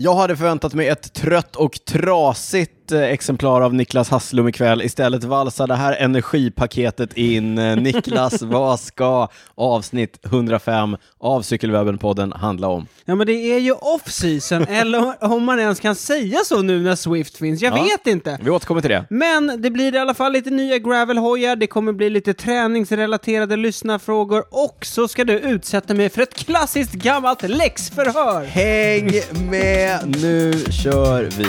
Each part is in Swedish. Jag hade förväntat mig ett trött och trasigt eh, exemplar av Niklas Hasslum ikväll. Istället valsar det här energipaketet in. Eh, Niklas, vad ska avsnitt 105 av Cykelwebben-podden handla om? Ja men det är ju off-season, eller om man ens kan säga så nu när Swift finns, jag Ja. vet inte. Vi återkommer till det. Men det blir i alla fall lite nya gravelhojar, det kommer bli lite träningsrelaterade lyssnarfrågor och så ska du utsätta mig för ett klassiskt gammalt läxförhör. Häng med, nu kör vi!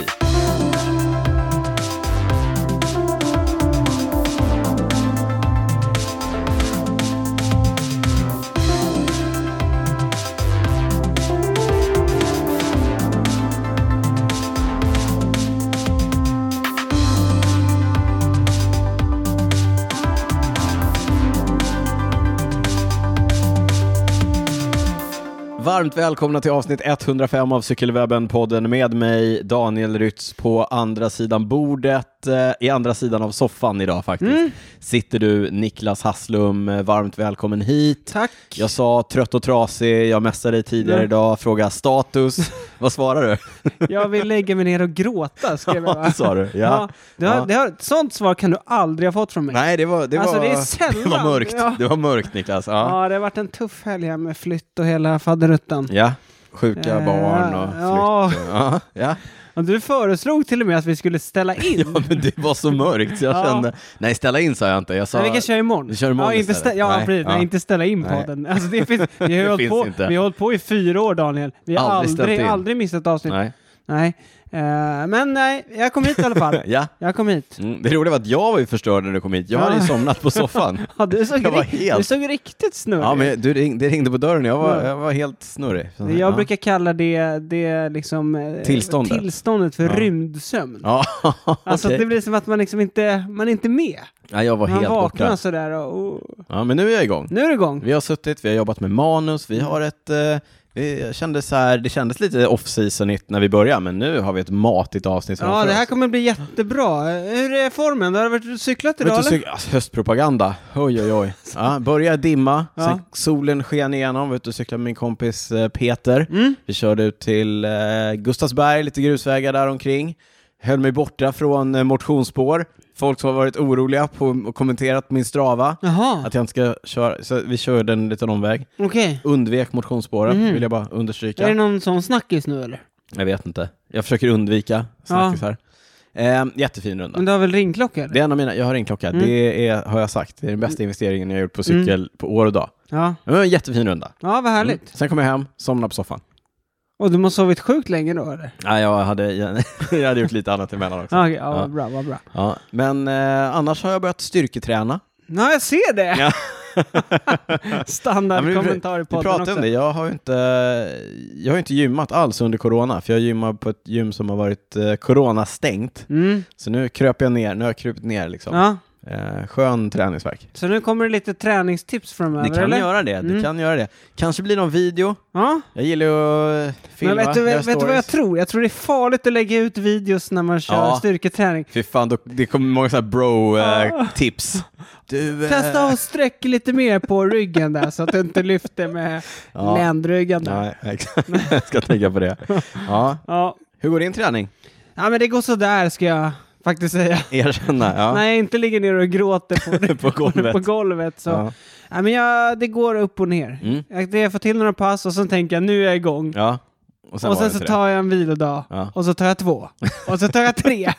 Varmt välkomna till avsnitt 105 av Cykelwebben-podden med mig Daniel Rytz på andra sidan bordet, eh, i andra sidan av soffan idag faktiskt, Mm. sitter du Niklas Hasslum. Eh, Varmt välkommen hit. Tack. Jag sa trött och trasig, jag messade dig tidigare Ja. idag, fråga status. Vad svarar du? Jag vill lägga mig ner och gråta, skrev jag Ja, det sa du. Ja. du har, Ja. Det har, ett sånt svar kan du aldrig ha fått från mig. Nej, det var, det Alltså, var, det är sällan. det var mörkt. Ja. Det var mörkt Niklas. Ja, Ja, det har varit en tuff helg här med flytt och hela faderuttan. ja. sjuka Eh, barn och ja. flykt. Ja. Ja. Och du föreslog till och med att vi skulle ställa in. Ja, men det var så mörkt så jag Ja. kände, nej ställa in sa jag inte, jag sa Nej, vi kan köra imorgon. Vi kör imorgon ja, inte istället. stä- ja, Nej, precis. ja. Nej, inte ställa in Nej. podden. Alltså, det finns, vi, har Det hållit finns på, inte. vi har hållit på i fyra år, Daniel. Vi har Aldrig ställt aldrig, in. aldrig missat avsnitt. Nej. Nej. Eh, men nej, jag kom hit i alla fall. Ja. Jag kom hit. Mm, det roliga var att jag var ju förstörd när du kom hit, jag hade ju Ja. somnat på soffan. Ja, du, såg Jag var ri- helt- du såg riktigt snurrig Ja, men du ring, det ringde på dörren, jag var, Ja. jag var helt snurrig. Så- Jag ja. brukar kalla det, det liksom, eh, Tillståndet. tillståndet för Ja. rymdsömn. Ja, Alltså okej. det blir som att man liksom inte, man är inte med. ja, jag var Man helt vaknar borta. sådär och, och Ja, men nu är jag igång. nu är det igång. Vi har suttit, vi har jobbat med manus, vi har ett... Eh, vi jag kände så här, det kändes lite off-seasonigt när vi började, men nu har vi ett matigt avsnitt Ja, det här oss. kommer bli jättebra. Eh, Hur är formen? Du har varit och cyklat Vet idag du, eller? cyk- alltså, höstpropaganda, oj oj oj. Ja, börjar dimma, Ja. sen solen sken igenom, vet du cyklade med min kompis eh, Peter. Mm. Vi körde ut till eh, Gustavsberg, lite grusvägar där omkring. Höll mig borta från eh, motionsspår. Folk som har varit oroliga på, och kommenterat på min strava, Jaha, att jag inte ska köra, så vi körde en liten omväg. okej. Undvek motionsspåren, Mhm. vill jag bara understryka. Är det någon sån snackis nu eller? Jag vet inte. Jag försöker undvika snackisar. Eh, jättefin runda. Men du har väl ringklocka Det eller? är en av mina, jag har ringklocka, Mm. det är, har jag sagt, det är den bästa investeringen jag har gjort på cykel på år och dag. Ja. Det var en jättefin runda. Ja, vad härligt. Mm. Sen kom jag hem, somnade på soffan. Och du måste ha sovit sjukt länge då eller? Nej, jag hade, jag, hade gjort lite annat emellan också. Ja, okej. ja, Ja. vad bra, vad bra. Ja, men eh, annars har jag börjat styrketräna. Ja, jag ser det! Ja. Ja, men vi- Standardkommentar i Vi podden pratade också. om det, jag har ju inte, jag har ju inte gymmat alls under corona, för jag gymmar på ett gym som har varit eh, coronastängt. Mm. Så nu kröp jag ner, nu har jag krupit ner liksom. Ja. Eh, skön träningsverk. Så nu kommer det lite träningstips framöver Ni kan eller? göra det, ni Mm. kan göra det. Kanske blir någon video, Ja. Jag gillar ju att filma, Men vet du, göra vet du vad jag stories. tror? Jag tror det är farligt att lägga ut videos när man kör Ja. styrketräning. Fy fan, då, det kommer många sådana här bro-tips. du, eh, Ah. Testa att sträcka lite mer på ryggen där så att du inte lyfter med Ja. ländryggen där. Nej, exakt. jag ska tänka på det. Ja. Ja. Hur går din träning? ja, men det går sådär ska jag faktiskt säga. Erkänna. Ja. När jag inte ligger ner och gråter på, På golvet. på golvet så. Ja. Ja, men jag, det går upp och ner. Mm. Jag, jag får till några pass och sen tänker jag nu är jag igång. ja. Och sen, och var sen det så inte tar jag en vilodag. Ja. Och så tar jag två. Och så tar jag tre.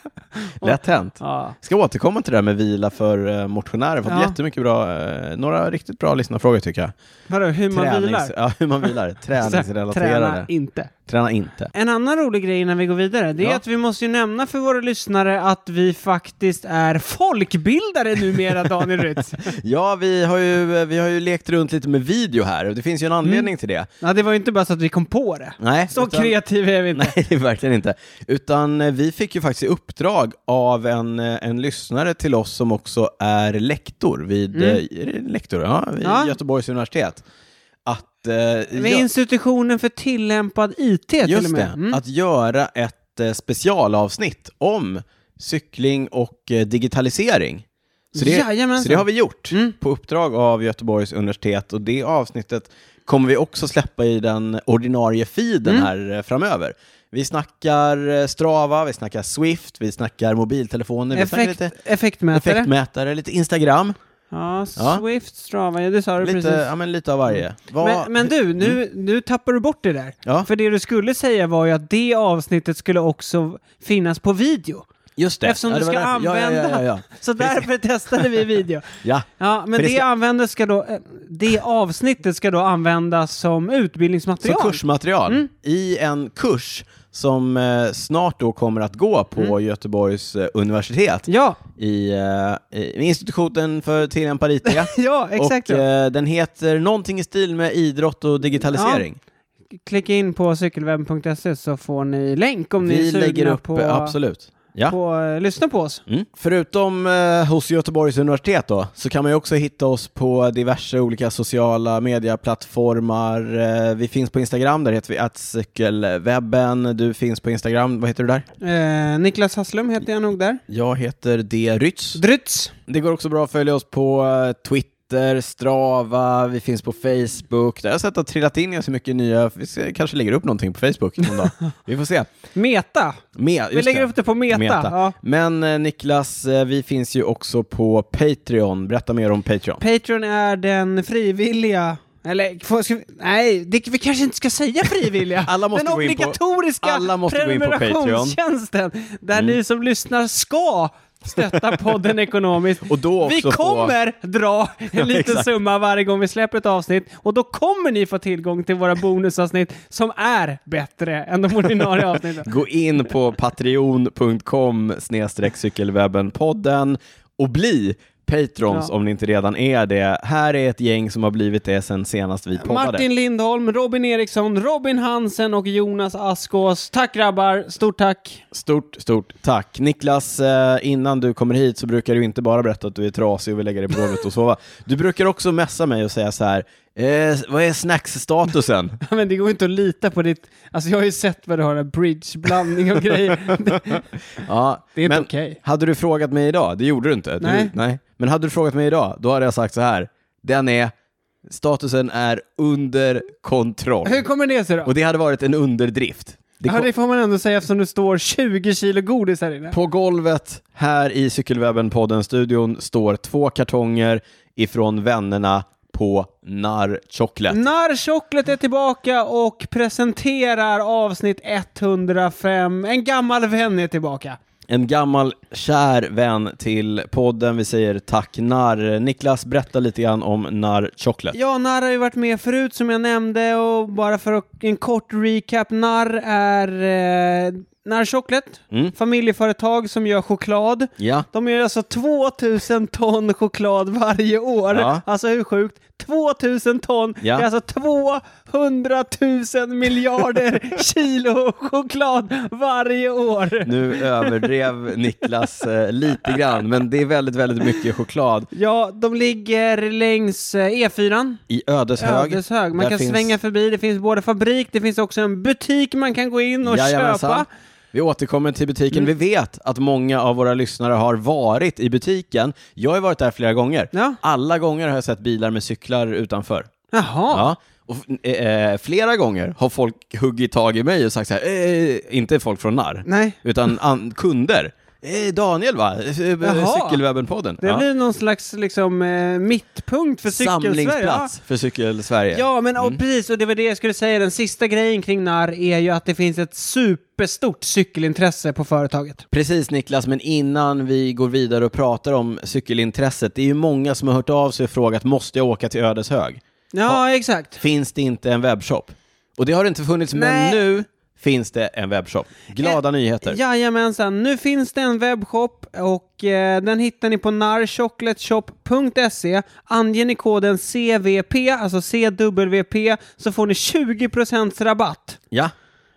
det. Lätt hänt. Ja. Ska återkomma till det här med vila för eh, motionärer. Fått Ja. jättemycket bra, eh, några riktigt bra lyssnarfrågor tycker jag. Vadå, hur man Tränings- vilar? Ja, hur man vilar. Så, Träningsrelaterade. Träna inte. Träna inte. En annan rolig grej innan vi går vidare, det är Ja. att vi måste ju nämna för våra lyssnare att vi faktiskt är folkbildare numera, Daniel Rytz. Ja, vi har, ju, eh, vi har ju lekt runt lite med video här och det finns ju en anledning till det. Ja, det var ju inte bara så att vi kom på det. Nej, Mm. Så utan- kreativa är vi inte. Nej, det är verkligen inte. Utan eh, vi fick ju faktiskt i uppdrag av en, eh, en lyssnare till oss som också är lektor vid, Mm. eh, är det lektor? Ja, vid Ja. Göteborgs universitet. Att, eh, Med gö- institutionen för tillämpad IT till och just det, med. Mm. att göra ett eh, specialavsnitt om cykling och eh, digitalisering. Så det, Jajamensan. så det har vi gjort Mm. på uppdrag av Göteborgs universitet och det avsnittet kommer vi också släppa i den ordinarie feeden Mm. här eh, framöver. Vi snackar eh, Strava, vi snackar Swift, vi snackar mobiltelefoner, vi snackar Effekt, lite effektmätare. effektmätare, lite Instagram, Ja, Ja. Swift, Strava, ja det sa du lite, precis. Mm. ja, men lite av varje. Vad- Mm. Men, men du, nu, nu tappar du bort det där. Ja. För det du skulle säga var ju att det avsnittet skulle också finnas på video. Just det. Eftersom Ja, du det var ska därför. Ja, ja, använda... Ja, ja, ja. Så därför testade vi video. ja. Ja, men För det, det ska- användes ska då, eh, det avsnittet ska då användas som Som utbildningsmaterial. kursmaterial Mm. i en kurs som eh, snart då kommer att gå på Mm. Göteborgs eh, universitet Ja, i, eh, i institutionen för tillämpad IT. ja, exakt. Och ja. eh, den heter någonting i stil med idrott och digitalisering. Klicka in på cykelwebben.se så får ni länk om ni är Vi sugna lägger upp, på, eh, absolut. Ja. på eh, lyssna på oss. Mm. Förutom eh, hos Göteborgs universitet då, så kan man ju också hitta oss på diverse olika sociala medieplattformar. Eh, vi finns på Instagram, där heter vi cykelwebben. Du finns på Instagram, vad heter du där? Eh, Niklas Hasslum heter jag nog där. Jag heter D. Rytz. Drytz. Det går också bra att följa oss på eh, Twitter, Strava, vi finns på Facebook. Där har jag sett att det har trillat in ganska mycket nya, vi ska, kanske lägger upp någonting på Facebook någon dag. Vi får se. Meta. Med, Vi just lägger det. upp det på Meta. Ja. Men eh, Niklas, eh, vi finns ju också på Patreon. Berätta mer om Patreon. Patreon är den frivilliga eller, får- ska vi, nej, det, vi kanske inte ska säga frivilliga. Alla måste Den gå in på- obligatoriska alla måste gå in på Patreon. Mm. prenumerationstjänsten. Där ni som lyssnar ska stötta podden ekonomiskt. Och då också vi få- kommer dra en liten exakt. summa varje gång vi släpper ett avsnitt. Och då kommer ni få tillgång till våra bonusavsnitt som är bättre än de ordinarie avsnitten. Gå in på patreon.com snedstreck cykelwebbenpodden och bli Patrons Ja. om ni inte redan är det. Här är ett gäng som har blivit det sen senast vi poddade. Martin Lindholm, Robin Eriksson, Robin Hansen och Jonas Askås. Tack grabbar, stort tack. Stort, stort tack. Niklas, eh, innan du kommer hit så brukar du inte bara berätta att du är trasig och vill lägga dig på golvet och sova. Du brukar också messa mig och säga så här, eh, vad är snacksstatusen? Ja, Men det går inte att lita på ditt... Alltså jag har ju sett vad du har, där bridgeblandning och grejer. Det- Ja, Det är inte men okej. Hade du frågat mig idag, det gjorde du inte. Du, Nej. nej. Men hade du frågat mig idag, då hade jag sagt så här, den är, statusen är under kontroll. Hur kommer det sig då? Och det hade varit en underdrift. Det Ja, kom, det får man ändå säga eftersom du står 20 kilo godis här inne. På golvet här i Cykelwebben-podden-studion står två kartonger ifrån vännerna på Narr Chocolate. När Chocolate är tillbaka och presenterar avsnitt 105. En gammal vän är tillbaka. En gammal kär vän till podden. Vi säger tack Narr. Niklas, berätta lite grann om Narr Chocolate. Ja, Narr har ju varit med förut som jag nämnde och bara för att- en kort recap. Narr är eh, Narr Chocolate, Mm. familjeföretag som gör choklad. Ja. De gör alltså 2000 ton choklad varje år. Ja. Alltså hur sjukt? 2000 ton! Ja. Det är alltså 200 000 miljarder kilo choklad varje år! Nu överdrev Niklas eh, lite grann, men det är väldigt, väldigt mycket choklad Ja, de ligger längs eh, E4, i Ödeshög. Ödeshög. Man Där kan finns- svänga förbi, det finns både fabrik, det finns också en butik man kan gå in och Jajamensan. köpa. Mm. Vi återkommer till butiken. Vi vet att många av våra lyssnare har varit i butiken. Jag har ju varit där flera gånger. Ja. Alla gånger har jag sett bilar med cyklar utanför. Jaha, Ja. Och, eh, eh, flera gånger har folk huggit tag i mig och sagt så här, eh, inte folk från Narr, nej. utan an- kunder. Eh, Daniel va? Eh, Jaha. Cykelwebben-podden. Det blir någon slags liksom, eh, mittpunkt för cykelsverige. Ja. Samlingsplats Mm. för Cykelsverige. Ja, men och precis, och det var det jag skulle säga. Den sista grejen kring NAR är ju att det finns ett superstort cykelintresse på företaget. Precis Niklas, men innan vi går vidare och pratar om cykelintresset, det är ju många som har hört av sig och frågat måste jag åka till Ödeshög? Ja, exakt. Finns det inte en webbshop? Och det har det inte funnits, Nej. Eh, men nu finns det en webbshop. Glada nyheter. Jajamensan, nu finns det en webbshop och eh, den hittar ni på narchocolateshop.se. Anger ni koden CVP, alltså CWP, så får ni 20% rabatt. Ja,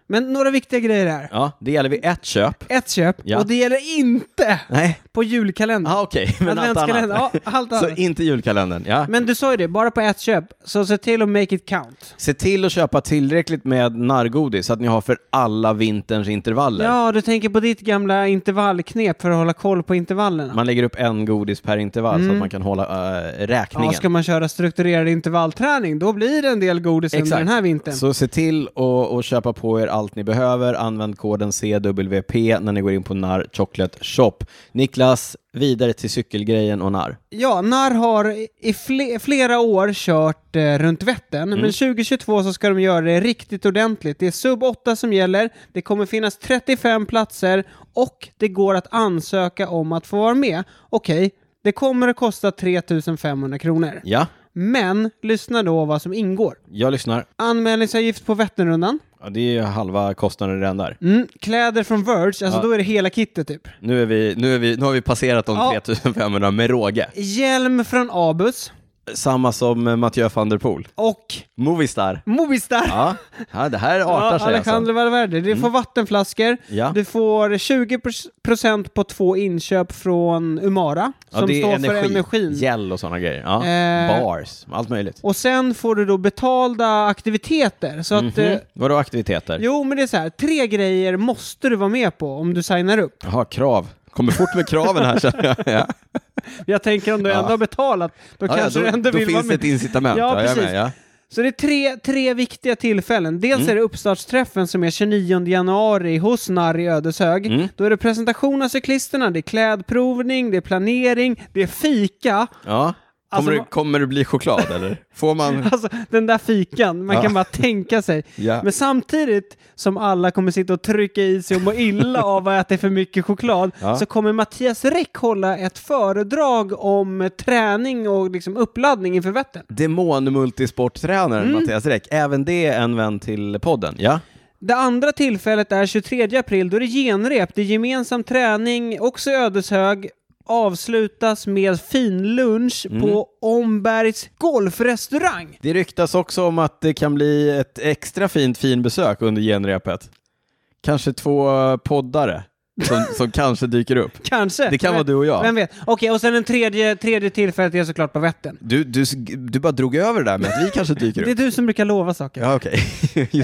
Men några viktiga grejer här. ja, det gäller vid ett köp. Ett köp, Ja. och det gäller inte Nej, på julkalendern. Ja, okej, men allt annat. Adventskalender, ja, allt Så annat. inte julkalendern, ja. Men du sa ju det, bara på ett köp. Så se till att make it count. Se till att köpa tillräckligt med narrgodis så att ni har för alla vinterns intervaller. Ja, du tänker på ditt gamla intervallknep för att hålla koll på intervallerna. Man lägger upp en godis per intervall så att man kan hålla äh, räkningen. Mm. Ja, ska man köra strukturerad intervallträning, då blir det en del godis under Exakt. den här vintern. Så se till att att köpa på er allt ni behöver. Använd koden CWP när ni går in på NAR Chocolate Shop. Niklas, vidare till cykelgrejen och NAR. Ja, NAR har i fle- flera år kört eh, runt Vättern, men 2022 så ska de göra det riktigt ordentligt. Det är sub 8 som gäller, det kommer finnas 35 platser och det går att ansöka om att få vara med. Okej, det kommer att kosta 3500 kronor. Ja, Men lyssna då vad som ingår. jag lyssnar. Anmälningsavgift på Vätternrundan, Ja, det är ju halva kostnaden redan där. mm, kläder från Verge, alltså då är det hela kittet typ. Nu, är vi, nu, är vi, nu har vi passerat de Ja. 3500 med råge. Hjälm från Abus Samma som eh, Mathieu van der Poel. och Movistar. Movistar. Ja, ja det här artar sig alltså. Alexander Valverde. Du får vattenflaskor, Ja. du får 20% på två inköp från Umara, Ja, som står för energin. gel och sådana grejer. Ja. Eh, Bars, allt möjligt. Och sen får du då betalda aktiviteter. Så att, Mhm. eh, Mm. Vadå aktiviteter? jo, men det är så här, tre grejer måste du vara med på om du signar upp. Jaha, krav. Kommer fort med kraven här känner jag. Ja. Jag tänker om du ändå har betalat, då Ja, ja, kanske då, du ändå då vill vara finns det med. ett incitament. Ja, jag är precis. med, ja. Så det är tre, tre viktiga tillfällen. Dels Mm. är det uppstartsträffen som är 29 januari hos Narr i Ödeshög. Mm. Då är det presentation av cyklisterna, det är klädprovning, det är planering, det är fika. Ja. Kommer, Alltså, du, man- kommer du bli choklad eller? Får man? Alltså den där fikan, man Mm. Ja. kan bara tänka sig. Ja. Men samtidigt som alla kommer sitta och trycka i sig och må illa av att äta för mycket choklad Ja. så kommer Mattias Räck hålla ett föredrag om träning och liksom uppladdning inför Vättern. Demon-multisporttränaren Mm. Mattias Räck, även det är en vän till podden. Ja. Det andra tillfället är 23 april, då är det genrep, det är gemensam träning, också i Ödeshög, avslutas med fin lunch Mm. på Ombergs golfrestaurang. Det ryktas också om att det kan bli ett extra fint finbesök under genrepet. Kanske två poddare som, som kanske dyker upp. Kanske. Det kan vara du och jag. Vem vet? Okej, och sen den tredje, tredje tillfället är såklart på Vättern. Du, du, du bara drog över det där med att vi kanske dyker Det är upp. du som brukar lova saker. Ja, okej. Just det.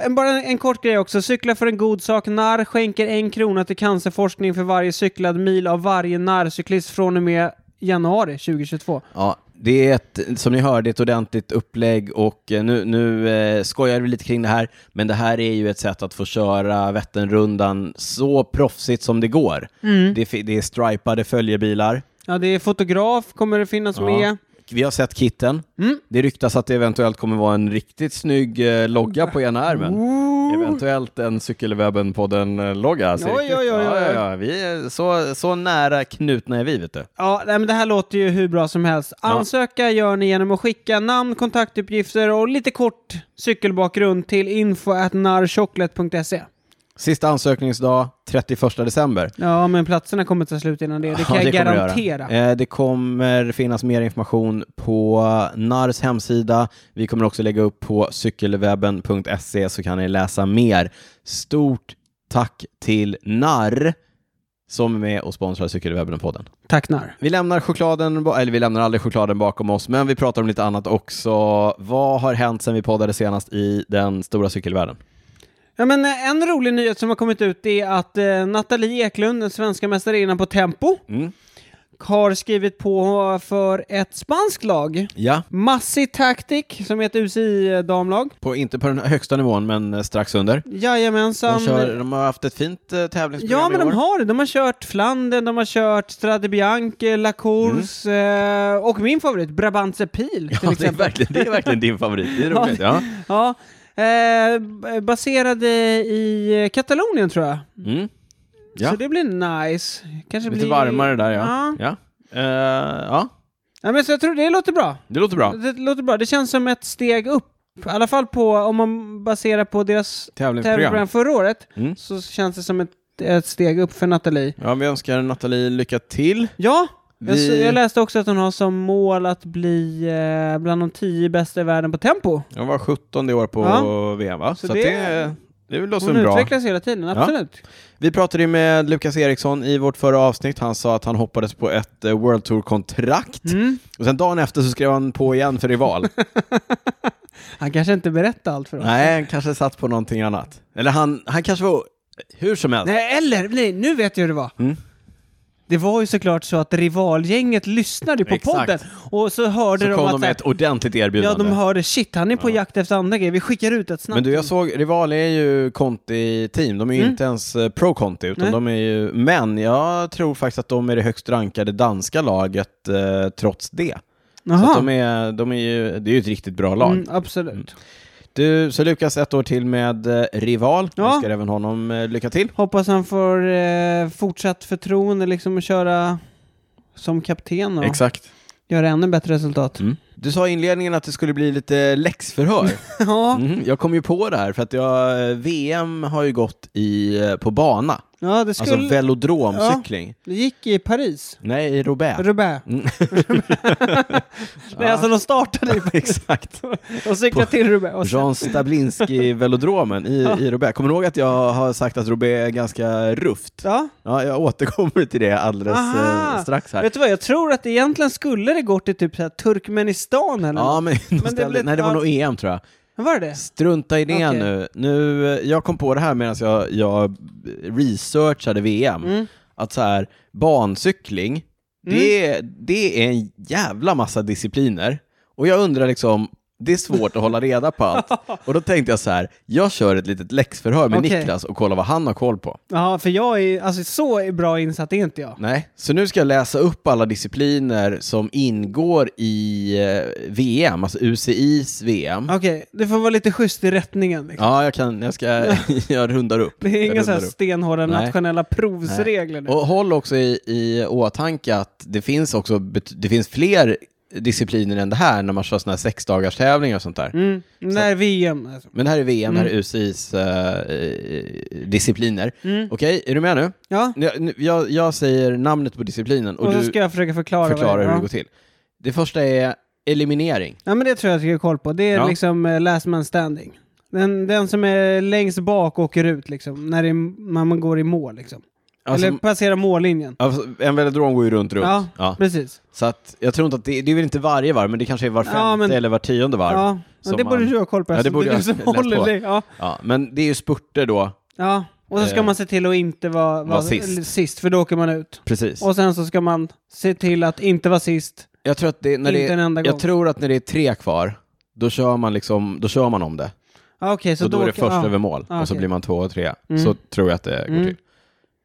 Eh, en- bara en, en kort grej också. Cykla för en god sak. NAR skänker en krona till cancerforskning för varje cyklad mil av varje NAR-cyklist från och med januari 2022. Ja, det är ett, som ni hör, det är ett ordentligt upplägg och eh, nu, nu eh, skojar vi lite kring det här, men det här är ju ett sätt att få köra Vätternrundan så proffsigt som det går. Mm. Det, är fi- det är stripade följebilar. Ja, det är fotograf kommer det finnas med. Vi har sett kitten. Mm. Det ryktas att det eventuellt kommer vara en riktigt snygg eh, logga på ena armen. Eventuellt en Cykelwebben-podden-logga. alltså. Oj, oj, oj, oj. Ja, ja, ja. Vi är så, så nära knutna är vi, vet du. Ja, nej, men det här låter ju hur bra som helst. Ansöka gör ni genom att skicka namn, kontaktuppgifter och lite kort cykelbakgrund till info.narchocolate.se. Sista ansökningsdag, 31 december. Ja, men platserna kommer ta slut innan det. Det kan Ja, jag kommer det garantera. göra. Eh, Det kommer finnas mer information på NARS hemsida. Vi kommer också lägga upp på cykelwebben.se så kan ni läsa mer. Stort tack till NAR som är med och sponsrar Cykelwebben och podden. Tack Nar. Vi lämnar chokladen, ba- eller vi lämnar aldrig chokladen bakom oss, men vi pratar om lite annat också. Vad har hänt sedan vi poddade senast i den stora cykelvärlden? Ja, men eh, en rolig nyhet som har kommit ut är att eh, Nathalie Eklund, den svenska mästarinnan på Tempo, Mm. har skrivit på för ett spanskt lag. Ja, Massi Tactic, som är ett UCI-damlag. på, inte på den högsta nivån, men eh, strax under. Jajamensan. De, kör, de har haft ett fint eh, tävlingsprogram Ja, men i år. de har det. De har kört Flandern, de har kört Strade Bianche, La Course eh, och min favorit, Brabantse Pil till Ja, det, är exempel. verkligen, det är verkligen din favorit. Det är Ja, roligt. Ja. Ja, eh, b- baserade i Katalonien tror jag. Mm. Ja. Så det blir nice. Kanske Lite blir... varmare där, ja. Mm. Ja. Ja. Eh, ja, Ja, men så jag tror det låter bra. det låter bra. Det låter bra. Det känns som ett steg upp. I alla fall på, om man baserar på deras tävlingsprogram Tävlingsprogram. förra året Mm. så känns det som ett, ett steg upp för Nathalie. Ja, vi önskar Nathalie lycka till. Ja, jag, s- Vi- jag läste också att hon har som mål att bli eh, bland de tio bästa i världen på tempo. Hon var 17 i år på Ja. VM, va? Så, det- det... Det låter Hon som bra. utvecklas hela tiden, absolut. Vi pratade ju med Lukas Eriksson i vårt förra avsnitt. Han sa att han hoppades på ett eh, World Tour-kontrakt. Mm. Och sen dagen efter så skrev han på igen för Rival. Han kanske inte berättar allt för oss. Nej, han kanske satt på någonting annat. Eller han, han kanske var... Hur som helst. Nej, eller nej, nu vet jag hur det var. Mm. Det var ju såklart så att rivalgänget lyssnade på Exakt. podden och så hörde så de kom att de så här, med ett ordentligt ja, erbjudande. de hörde shit, han är på jakt efter andra grejer, vi skickar ut ett snabbt. Men du, jag såg, Rival är ju Conti-team. De är ju inte ens eh, pro-Conti, utan Mm. Nej. de är ju... Men jag tror faktiskt att de är det högst rankade danska laget eh, trots det. Så Jaha. att de är, de är ju, det är ju ett riktigt bra lag. Mm, absolut. Du, så Lukas ett år till med eh, Rival. Ja. Jag önskar även honom eh, lycka till. Hoppas han får eh, fortsatt förtroende liksom att köra som kapten och Exakt. göra ännu bättre resultat. Mm. Du sa i inledningen att det skulle bli lite läxförhör. ja, Mm, jag kom ju på det här för att jag, eh, VM har ju gått i, eh, på bana. ja, det skulle... Alltså velodromcykling. Det gick i Paris. Nej, i Roubaix. Roubaix. Mm. Nej, alltså de startade i Paris Exakt. och cyklade till Roubaix. Och sen... Jean Stablinski-velodromen i, Ja. i Roubaix. Kommer du ihåg att jag har sagt att Roubaix är ganska rufft? Ja. Ja, jag återkommer till det alldeles Aha. eh, strax här. Vet du vad, jag tror att egentligen skulle det gått till typ så här Turkmenistan eller Ja, något. men, de det ställde, blev- nej, det var ja. nog EM tror jag. Var det det? Strunta i det Okej. nu. nu. eh, Jag kom på det här medan jag, jag researchade VM. Mm. Att så här, bancykling, det, det är en jävla massa discipliner. Och jag undrar liksom, det är svårt att hålla reda på allt. Och då tänkte jag så här, jag kör ett litet läxförhör med Okej. Niklas och kollar vad han har koll på. Ja, för jag är alltså så bra insatt är inte jag. Nej, så nu ska jag läsa upp alla discipliner som ingår i eh, VM, alltså UCIs VM. Okej, det får vara lite schysst i rättningen. Liksom. Ja, jag kan, jag ska, jag rundar upp. Det är Jag inga så här rundar upp. stenhårda Nej. nationella provsregler nu. Och håll också i, i åtanke att det finns också bet- det finns fler discipliner än det här när man kör sådana här sexdagars tävlingar och sånt där. Mm. När VM alltså. Men det här är VM, det här är UCIs eh, eh, discipliner. Mm. Okej, är du med nu? Ja, Jag, nu- jag, jag säger namnet på disciplinen och, och så du ska jag försöka förklara. vad förklarar det är. hur det ja. går till. Det första är eliminering. Ja, men det tror jag att jag har koll på. Det är Ja. liksom eh, last man standing. Den, den som är längst bak åker ut liksom, när, det är, när man går i mål liksom. Alltså, Eller passerar mållinjen. alltså, en velodrom går ju runt, runt. Ja, Ja. precis. Så att, jag tror inte att det, det är väl inte varje varv, men det kanske är var Ja, femte men- eller var tionde varv. Ja, ja som det borde man- du ha koll på Ja, det eftersom borde det är du jag som lätt på. håller dig. Ja. Ja, men det är ju spurter då, ja, och så ska Eh, man se till att inte vara, vara vara sist. eller sist, för då åker man ut. precis. Och sen så ska man se till att inte vara sist. jag tror att det, när inte det, en enda gång. jag tror att när det är tre kvar, då kör man, liksom, då kör man om det. Ja, Okej, så och då, är det åker- först ja. över mål, Ah, och så okej. blir man två och tre. Mm. Så tror jag att det går Mm. till.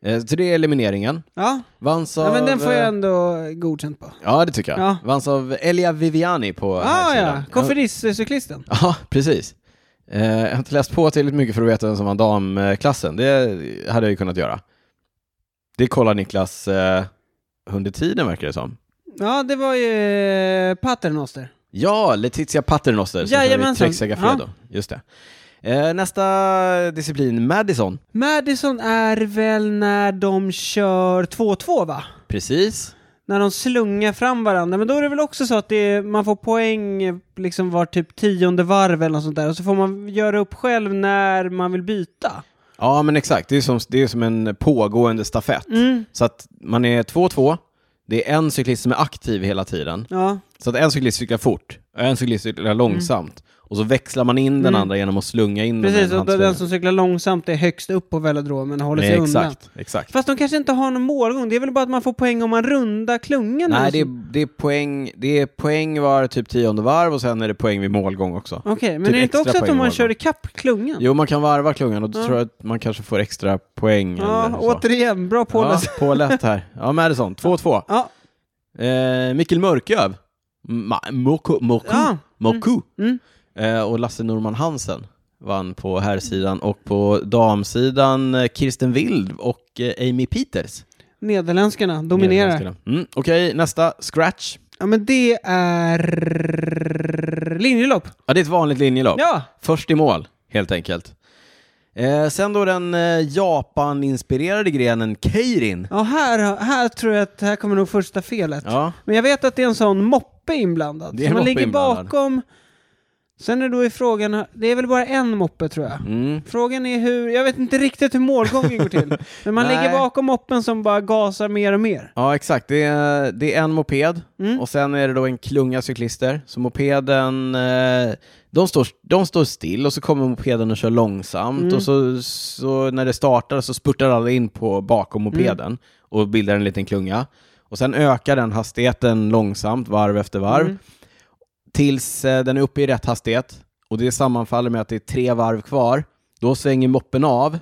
Eh, Så det är elimineringen. Ja. Vanns av... ja, men den får jag eh, ändå godkänt på. Ja, det tycker jag. Ja. Vanns av Elia Viviani på här Ah, ja, sidan. konferenscyklisten. Ja, ja, precis. Eh, Jag har inte läst på tillräckligt mycket för att veta vem som vann damklassen. Det hade jag ju kunnat göra. Det kollar Niklas eh, under tiden, verkar det som. Ja, det var ju eh, Paternoster. Ja, Letizia Paternoster som kör i Jajamensan. Trexia Gafredo. Just det. Eh, nästa disciplin, Madison. Madison är väl när de kör 2-2 va? Precis. När de slungar fram varandra. Men då är det väl också så att det är, man får poäng eh, liksom var typ tionde varv eller något sånt där. Och så får man göra upp själv när man vill byta. Ja, men exakt. Det är som, det är som en pågående stafett. Mm. Så att man är 2-2. Det är en cyklist som är aktiv hela tiden. Ja, Så att en cyklist cyklar fort och en cyklist cyklar långsamt. Och så växlar man in den Mm. andra genom att slunga in den precis. med en Och då den handsvung. som cyklar långsamt är högst upp på velodromen och håller sig Nej, undan. Exakt, exakt. Fast de kanske inte har någon målgång. Det är väl bara att man får poäng om man rundar klungan? eller Nej, något det är, sånt. det, är poäng, det är poäng var typ tionde varv och sen är det poäng vid målgång också. Okej, men typ är det inte extra också att poäng om var man det kör då. ikapp klungan? Jo, man kan varva klungan och då Ja. tror jag att man kanske får extra poäng. ja, eller så. återigen, bra policy. Ja, påläst här. Ja, Madison. 2-2. Ja. Eh, Mikkel Mörköv. Ma- Moku. Moku. Ja. Moku. Mm. Eh, och Lasse Norman Hansen vann på herrsidan och på damsidan eh, Kirsten Wild och eh, Amy Peters. Nederländskarna dominerar. Nederländskarna. Mm. Okej, nästa. Scratch. Ja, men det är linjelopp. Ja, det är ett vanligt linjelopp. Ja, Först i mål, helt enkelt. Eh, sen då den eh, Japan-inspirerade grenen Keirin. ja här, här tror jag att här kommer nog första felet. Ja. Men jag vet att det är en sån moppe inblandad. Det är Så en man moppe ligger inblandad. bakom Sen är då i frågan, det är väl bara en moppe tror jag. Mm. Frågan är hur, jag vet inte riktigt hur målgången går till. Men man Nej. ligger bakom moppen som bara gasar mer och mer. Ja, exakt. Det är, det är en moped Mm. och sen är det då en klunga cyklister. Så mopeden, eh, de står, de står still och så kommer mopeden och kör långsamt Mm. och så, så när det startar så spurtar alla in på bakom Mm. mopeden och bildar en liten klunga. Och sen ökar den hastigheten långsamt varv efter varv Mm. tills eh, den är uppe i rätt hastighet och det sammanfaller med att det är tre varv kvar. Då svänger moppen av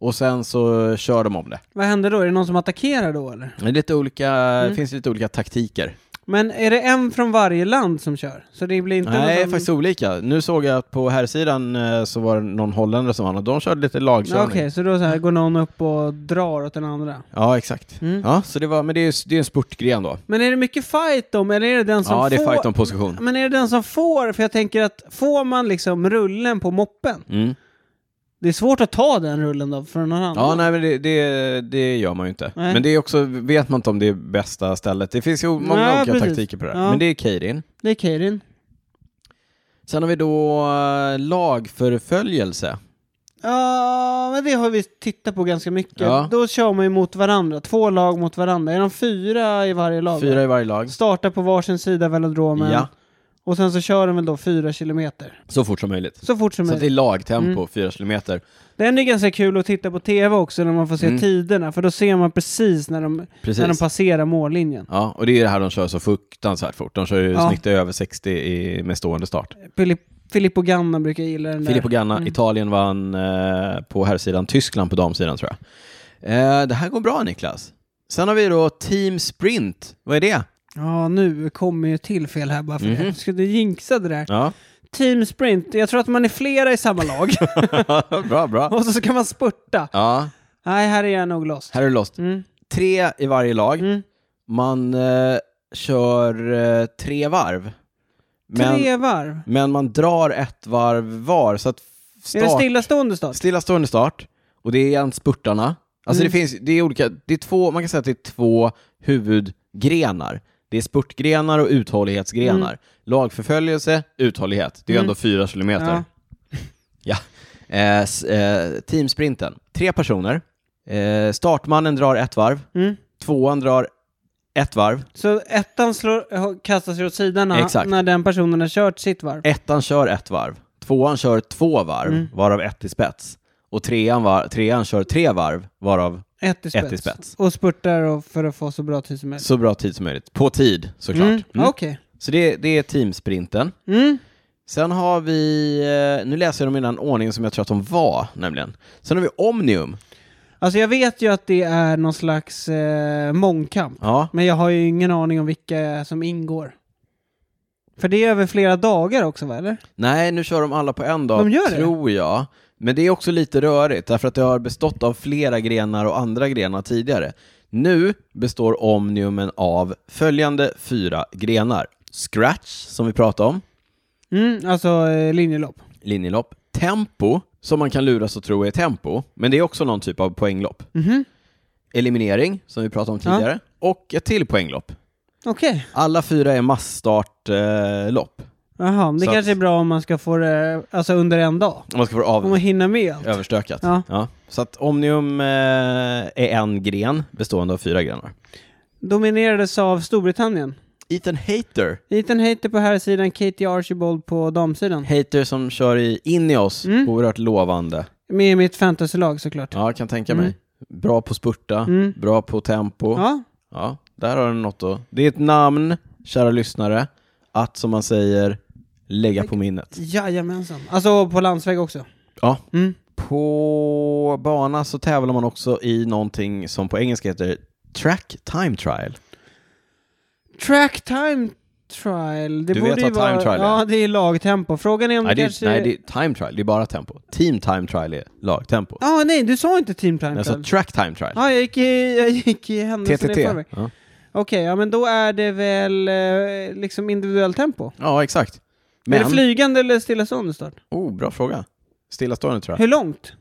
och sen så kör de om det. Vad händer då? Är det någon som attackerar då eller? Det är lite olika, det Mm. finns lite olika taktiker. Men är det en från varje land som kör? Så det blir inte någon Nej, som... faktiskt olika. Nu såg jag att på här sidan eh, så var det någon holländare som vann och de körde lite Ja, lagkörning. Okej, så då så här går någon upp och drar åt den andra. Ja, exakt. Mm. Ja, så det var, men det är ju det är en spurtgren då. Men är det mycket fight om, eller är det den som Ja, det är får... fight om position. Men är det den som får? För jag tänker att får man liksom rullen på moppen, Mm. det är svårt att ta den rullen då från någon annan. Ja, nej, men det, det, det gör man ju inte. Nej. Men det är också, vet man inte om det är bästa stället. Det finns ju många Nej, olika precis. taktiker på det här. Ja. Men det är Keirin. Det är Keirin. Sen har vi då eh, lagförföljelse. Ja, men det har vi tittat på ganska mycket. Ja. Då kör man ju mot varandra, två lag mot varandra. Är de fyra i varje lag? Fyra i varje lag. Startar på varsin sida av velodromen. Ja. Och sen så kör de väl då fyra kilometer. Så fort som möjligt. Så fort som Så att det är möjligt. lagtempo, Mm. fyra kilometer. Den är ganska kul att titta på tv också när man får se Mm. tiderna. För då ser man precis när de, när de Precis. passerar mållinjen. Ja, och det är det här de kör så fruktansvärt fort. De kör ju Ja. snitt över 60 i, med stående start. Filip, Filippo Ganna brukar gilla den Filippo där. Ganna, Italien vann eh, på herrsidan, Tyskland på damsidan tror jag. Eh, det här går bra Niklas. Sen har vi då Team Sprint. Vad är det? Ja, nu kommer ju till fel här bara för det. Mhm. Jag skulle jinxa det där. Ja, Team Sprint, jag tror att man är flera i samma lag. bra, bra. och så ska man spurta. Ja, Nej, här är jag nog lost. här är det lost. Mm. Tre i varje lag. Mm. Man eh, kör eh, tre varv. Men, Tre varv. men man drar ett varv var. Så att Är det start, stillastående start? stillastående start. Och det är igen spurtarna. Alltså Mm. det finns, det är olika, det är två, man kan säga att det är två huvudgrenar. Det är spurtgrenar och uthållighetsgrenar. Lagförföljelse, uthållighet. Det är ju Mm. ändå fyra kilometer. Ja. Ja. Eh, s- eh, teamsprinten, tre personer. Eh, startmannen drar ett varv, Mm. tvåan drar ett varv, Så ettan slår, eh, kastas ju åt sidan när- Exakt. när den personen har kört sitt varv. Ettan kör ett varv, tvåan kör två varv, Mm. varav ett i spets. Och trean, var, trean kör tre varv, varav Ett i spets. Ett i spets. Och spurtar och för att få så bra tid som möjligt. så bra tid som möjligt. På tid, såklart. Mm. Mm. Okej. Så det, det är teamsprinten. Mm. Sen har vi, eh, nu läser jag dem i den ordningen som jag tror att de var, nämligen. Sen har vi Omnium. Alltså jag vet ju att det är någon slags eh, mångkamp. Ja, Men jag har ju ingen aning om vilka som ingår. För det är över flera dagar också, va? Eller? nej, nu kör de alla på en dag, De gör det? tror jag. Men det är också lite rörigt, därför att det har bestått av flera grenar och andra grenar tidigare. Nu består Omniumen av följande fyra grenar. Scratch, som vi pratade om, Mm, alltså eh, linjelopp. linjelopp. Tempo, som man kan luras att tro är tempo, men det är också någon typ av poänglopp. Mhm. eliminering, som vi pratade om Ja. tidigare, och ett till poänglopp. Okej. Alla fyra är massstartlopp. Eh, lopp. Jaha, men det Så kanske att- är bra om man ska få det alltså under en dag. om man ska få det Om av, man hinner med allt. överstökat. Ja. Så att Omnium eh, är en gren bestående av fyra grenar. Dominerades av Storbritannien. Ethan Hater, Ethan Hayter på här sidan, Katie Archibald på damsidan. Hater som kör i Ineos, Mm. oerhört lovande. Med i mitt fantasylag såklart. Ja, jag kan tänka Mm. mig. Bra på spurta, Mm. bra på tempo. Ja. Ja, där har du något då. Det är ett namn, kära lyssnare, att som man säger lägga på minnet. jajamensan. Alltså på landsväg också. Ja, Mm. På bana så tävlar man också i någonting som på engelska heter track time Mm, trial. Track time trial. Det Du borde vet ju vad time vara... trial är? Ja, det är lagtempo. Frågan är om Nej det det, kanske... är, nej, det är time trial, det är bara tempo. Team time trial är lagtempo. Ja, ah, nej, du sa inte team time Men trial. alltså track time trial, Ja, jag gick i, jag gick i händelsen TTT. i förväg. Ja. Okej, ja men då är det väl eh, liksom individuell tempo. ja, exakt. Är det Men, flygande eller stillastående start? oh, bra fråga. Stillastående tror jag. Hur långt?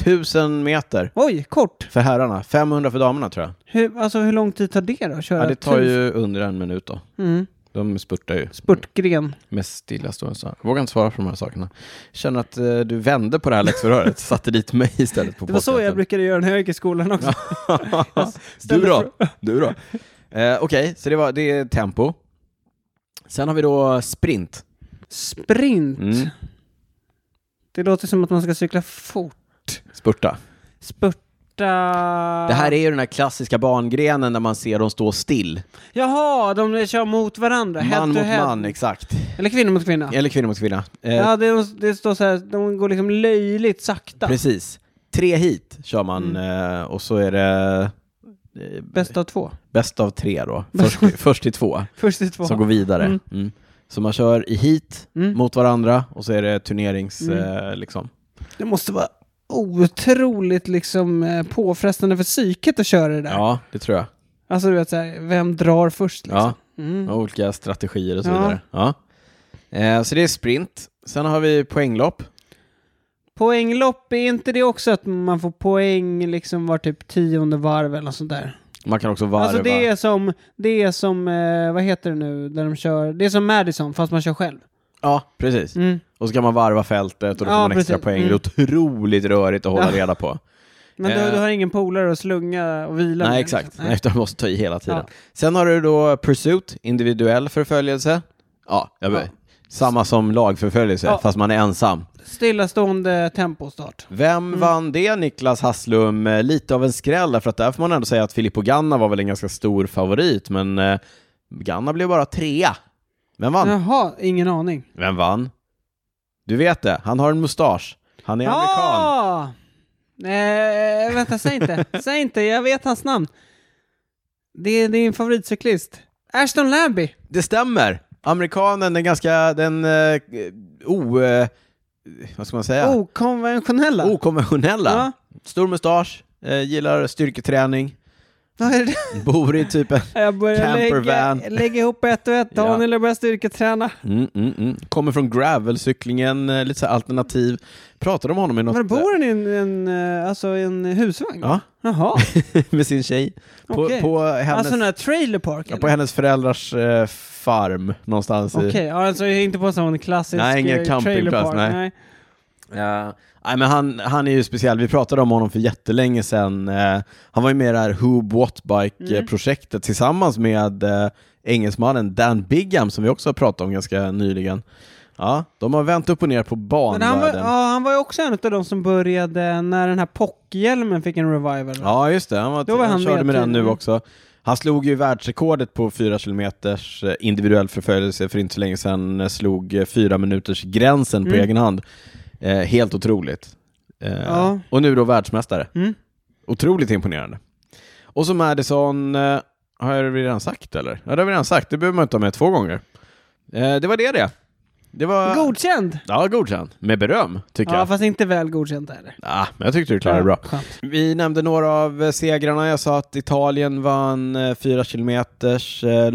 1000 meter Oj, kort. för herrarna, 500 för damerna tror jag. Hur, alltså hur lång tid tar det då? att Köra Ja, det tar tusen? ju under en minut då. Mm. De spurtar ju Spurtgren. med stillastående så. Vågar inte svara på de här sakerna. Känner att eh, du vände på det här läxförhöret, satte dit mig istället på Det var så jag podcasten. brukade göra när jag gick i skolan också. du ställde då? Du då? Eh, Okej, så det, var, det är tempo. Sen har vi då sprint. Sprint. Mm. Det låter som att man ska cykla fort. Spurta. Spurta... Det här är ju den här klassiska bangrenen där man ser dem stå still. Jaha, de kör mot varandra. head Man to mot head. man, exakt. Eller kvinna mot kvinna. Eller kvinna mot kvinna. Eh, Ja, det, det står så här, de går liksom löjligt sakta. Precis. Tre hit kör man Mm. eh, och så är det eh, Bäst av två. bäst av tre då. Först, först till två Först till två. som går vidare. Mm. Mm. Så man kör i hit Mm. mot varandra och så är det turnerings... Mm. Eh, liksom. Det måste vara otroligt liksom eh, påfrestande för psyket att köra det där. Ja, det tror jag. Alltså du vet så här, vem drar först liksom? Ja, Mm. och olika strategier och så Ja. vidare. Ja. Eh, så det är sprint. Sen har vi poänglopp. Poänglopp, är inte det också att man får poäng liksom var typ tionde varv eller något sånt där? Man kan också varva. Alltså det är som, det är som, eh, vad heter det nu, där de kör, det är som Madison fast man kör själv. Ja, precis. Mm. Och så kan man varva fältet och då får Ja, man extra precis. poäng. Mm. Det är otroligt rörigt att hålla Ja. reda på. Men Eh. du, du har ingen polare att slunga och vila Nej, med, exakt. liksom. Nej. Utan du måste ta i hela tiden. Ja. Sen har du då pursuit, individuell förföljelse. Ja, jag Ja. samma som lagförföljelse, Ja. fast man är ensam. Stillastående tempostart. Vem vann det, Niklas Hasslum? Eh, Lite av en skräll, för att där får man ändå säga att Filippo Ganna var väl en ganska stor favorit, men eh, Ganna blev bara trea. Vem vann? Jaha, ingen aning. Vem vann? Du vet det, han har en mustasch. Han är amerikan. Ah! Eh, vänta, säg inte. säg inte, jag vet hans namn. Det är din favoritcyklist. Ashton Lambie. Det stämmer! Amerikanen, den ganska, den eh, o... Eh, vad ska man säga? Oh, Okonventionella. Okonventionella. Oh, Ja. Stor mustasch, eh, gillar styrketräning, Vad är det? bor i typ en... Jag börjar lägga, Campervan. lägga ihop ett och ett. Ja. Daniel ja. börjar styrketräna. Mm, mm, mm. Kommer från gravelcyklingen, eh, lite så här alternativ. Pratade om honom i något... Men bor han i en, en, eh, alltså, i en husvagn? Ja, Jaha, med sin tjej. På, Okej. på, hennes, alltså den här trailer park? ja, eller? på hennes föräldrars eh, farm någonstans Okej, i... ja, alltså inte på en sån klassisk Nej, ingen eh, campingplats, trailer park. nej. Ja. Nej, men han, han är ju speciell. Vi pratade om honom för jättelänge sedan. Eh, han var ju med i det här Who What Mm. Bike-projektet tillsammans med eh, engelsmannen Dan Bigham som vi också har pratat om ganska nyligen. Ja, de har vänt upp och ner på Men han var, banvärlden. ja. ja, han var ju också en av de som började när den här pockhjälmen fick en revival. va? just det. Han, var, Då var han, han körde med med den nu tydligen. också. Han slog ju världsrekordet på 4 kilometers eh, individuell förföljelse för inte så länge sedan. eh, Slog eh, fyra minuters gränsen på Mm. egen hand. Eh, helt otroligt. Eh, Ja. Och nu då världsmästare. Mm. Otroligt imponerande. Och så Madison, eh, har jag redan sagt eller? Ja, det har vi redan sagt. Det behöver man inte ha med två gånger. Eh, det var det det. Det var... Godkänd! Ja, godkänd. Med beröm, tycker Ja, jag. fast inte väl godkänt heller. Ah, men jag tyckte du klarade det bra. Skönt. Vi nämnde några av eh, segrarna. Jag sa att Italien vann eh, fyra kilometers eh,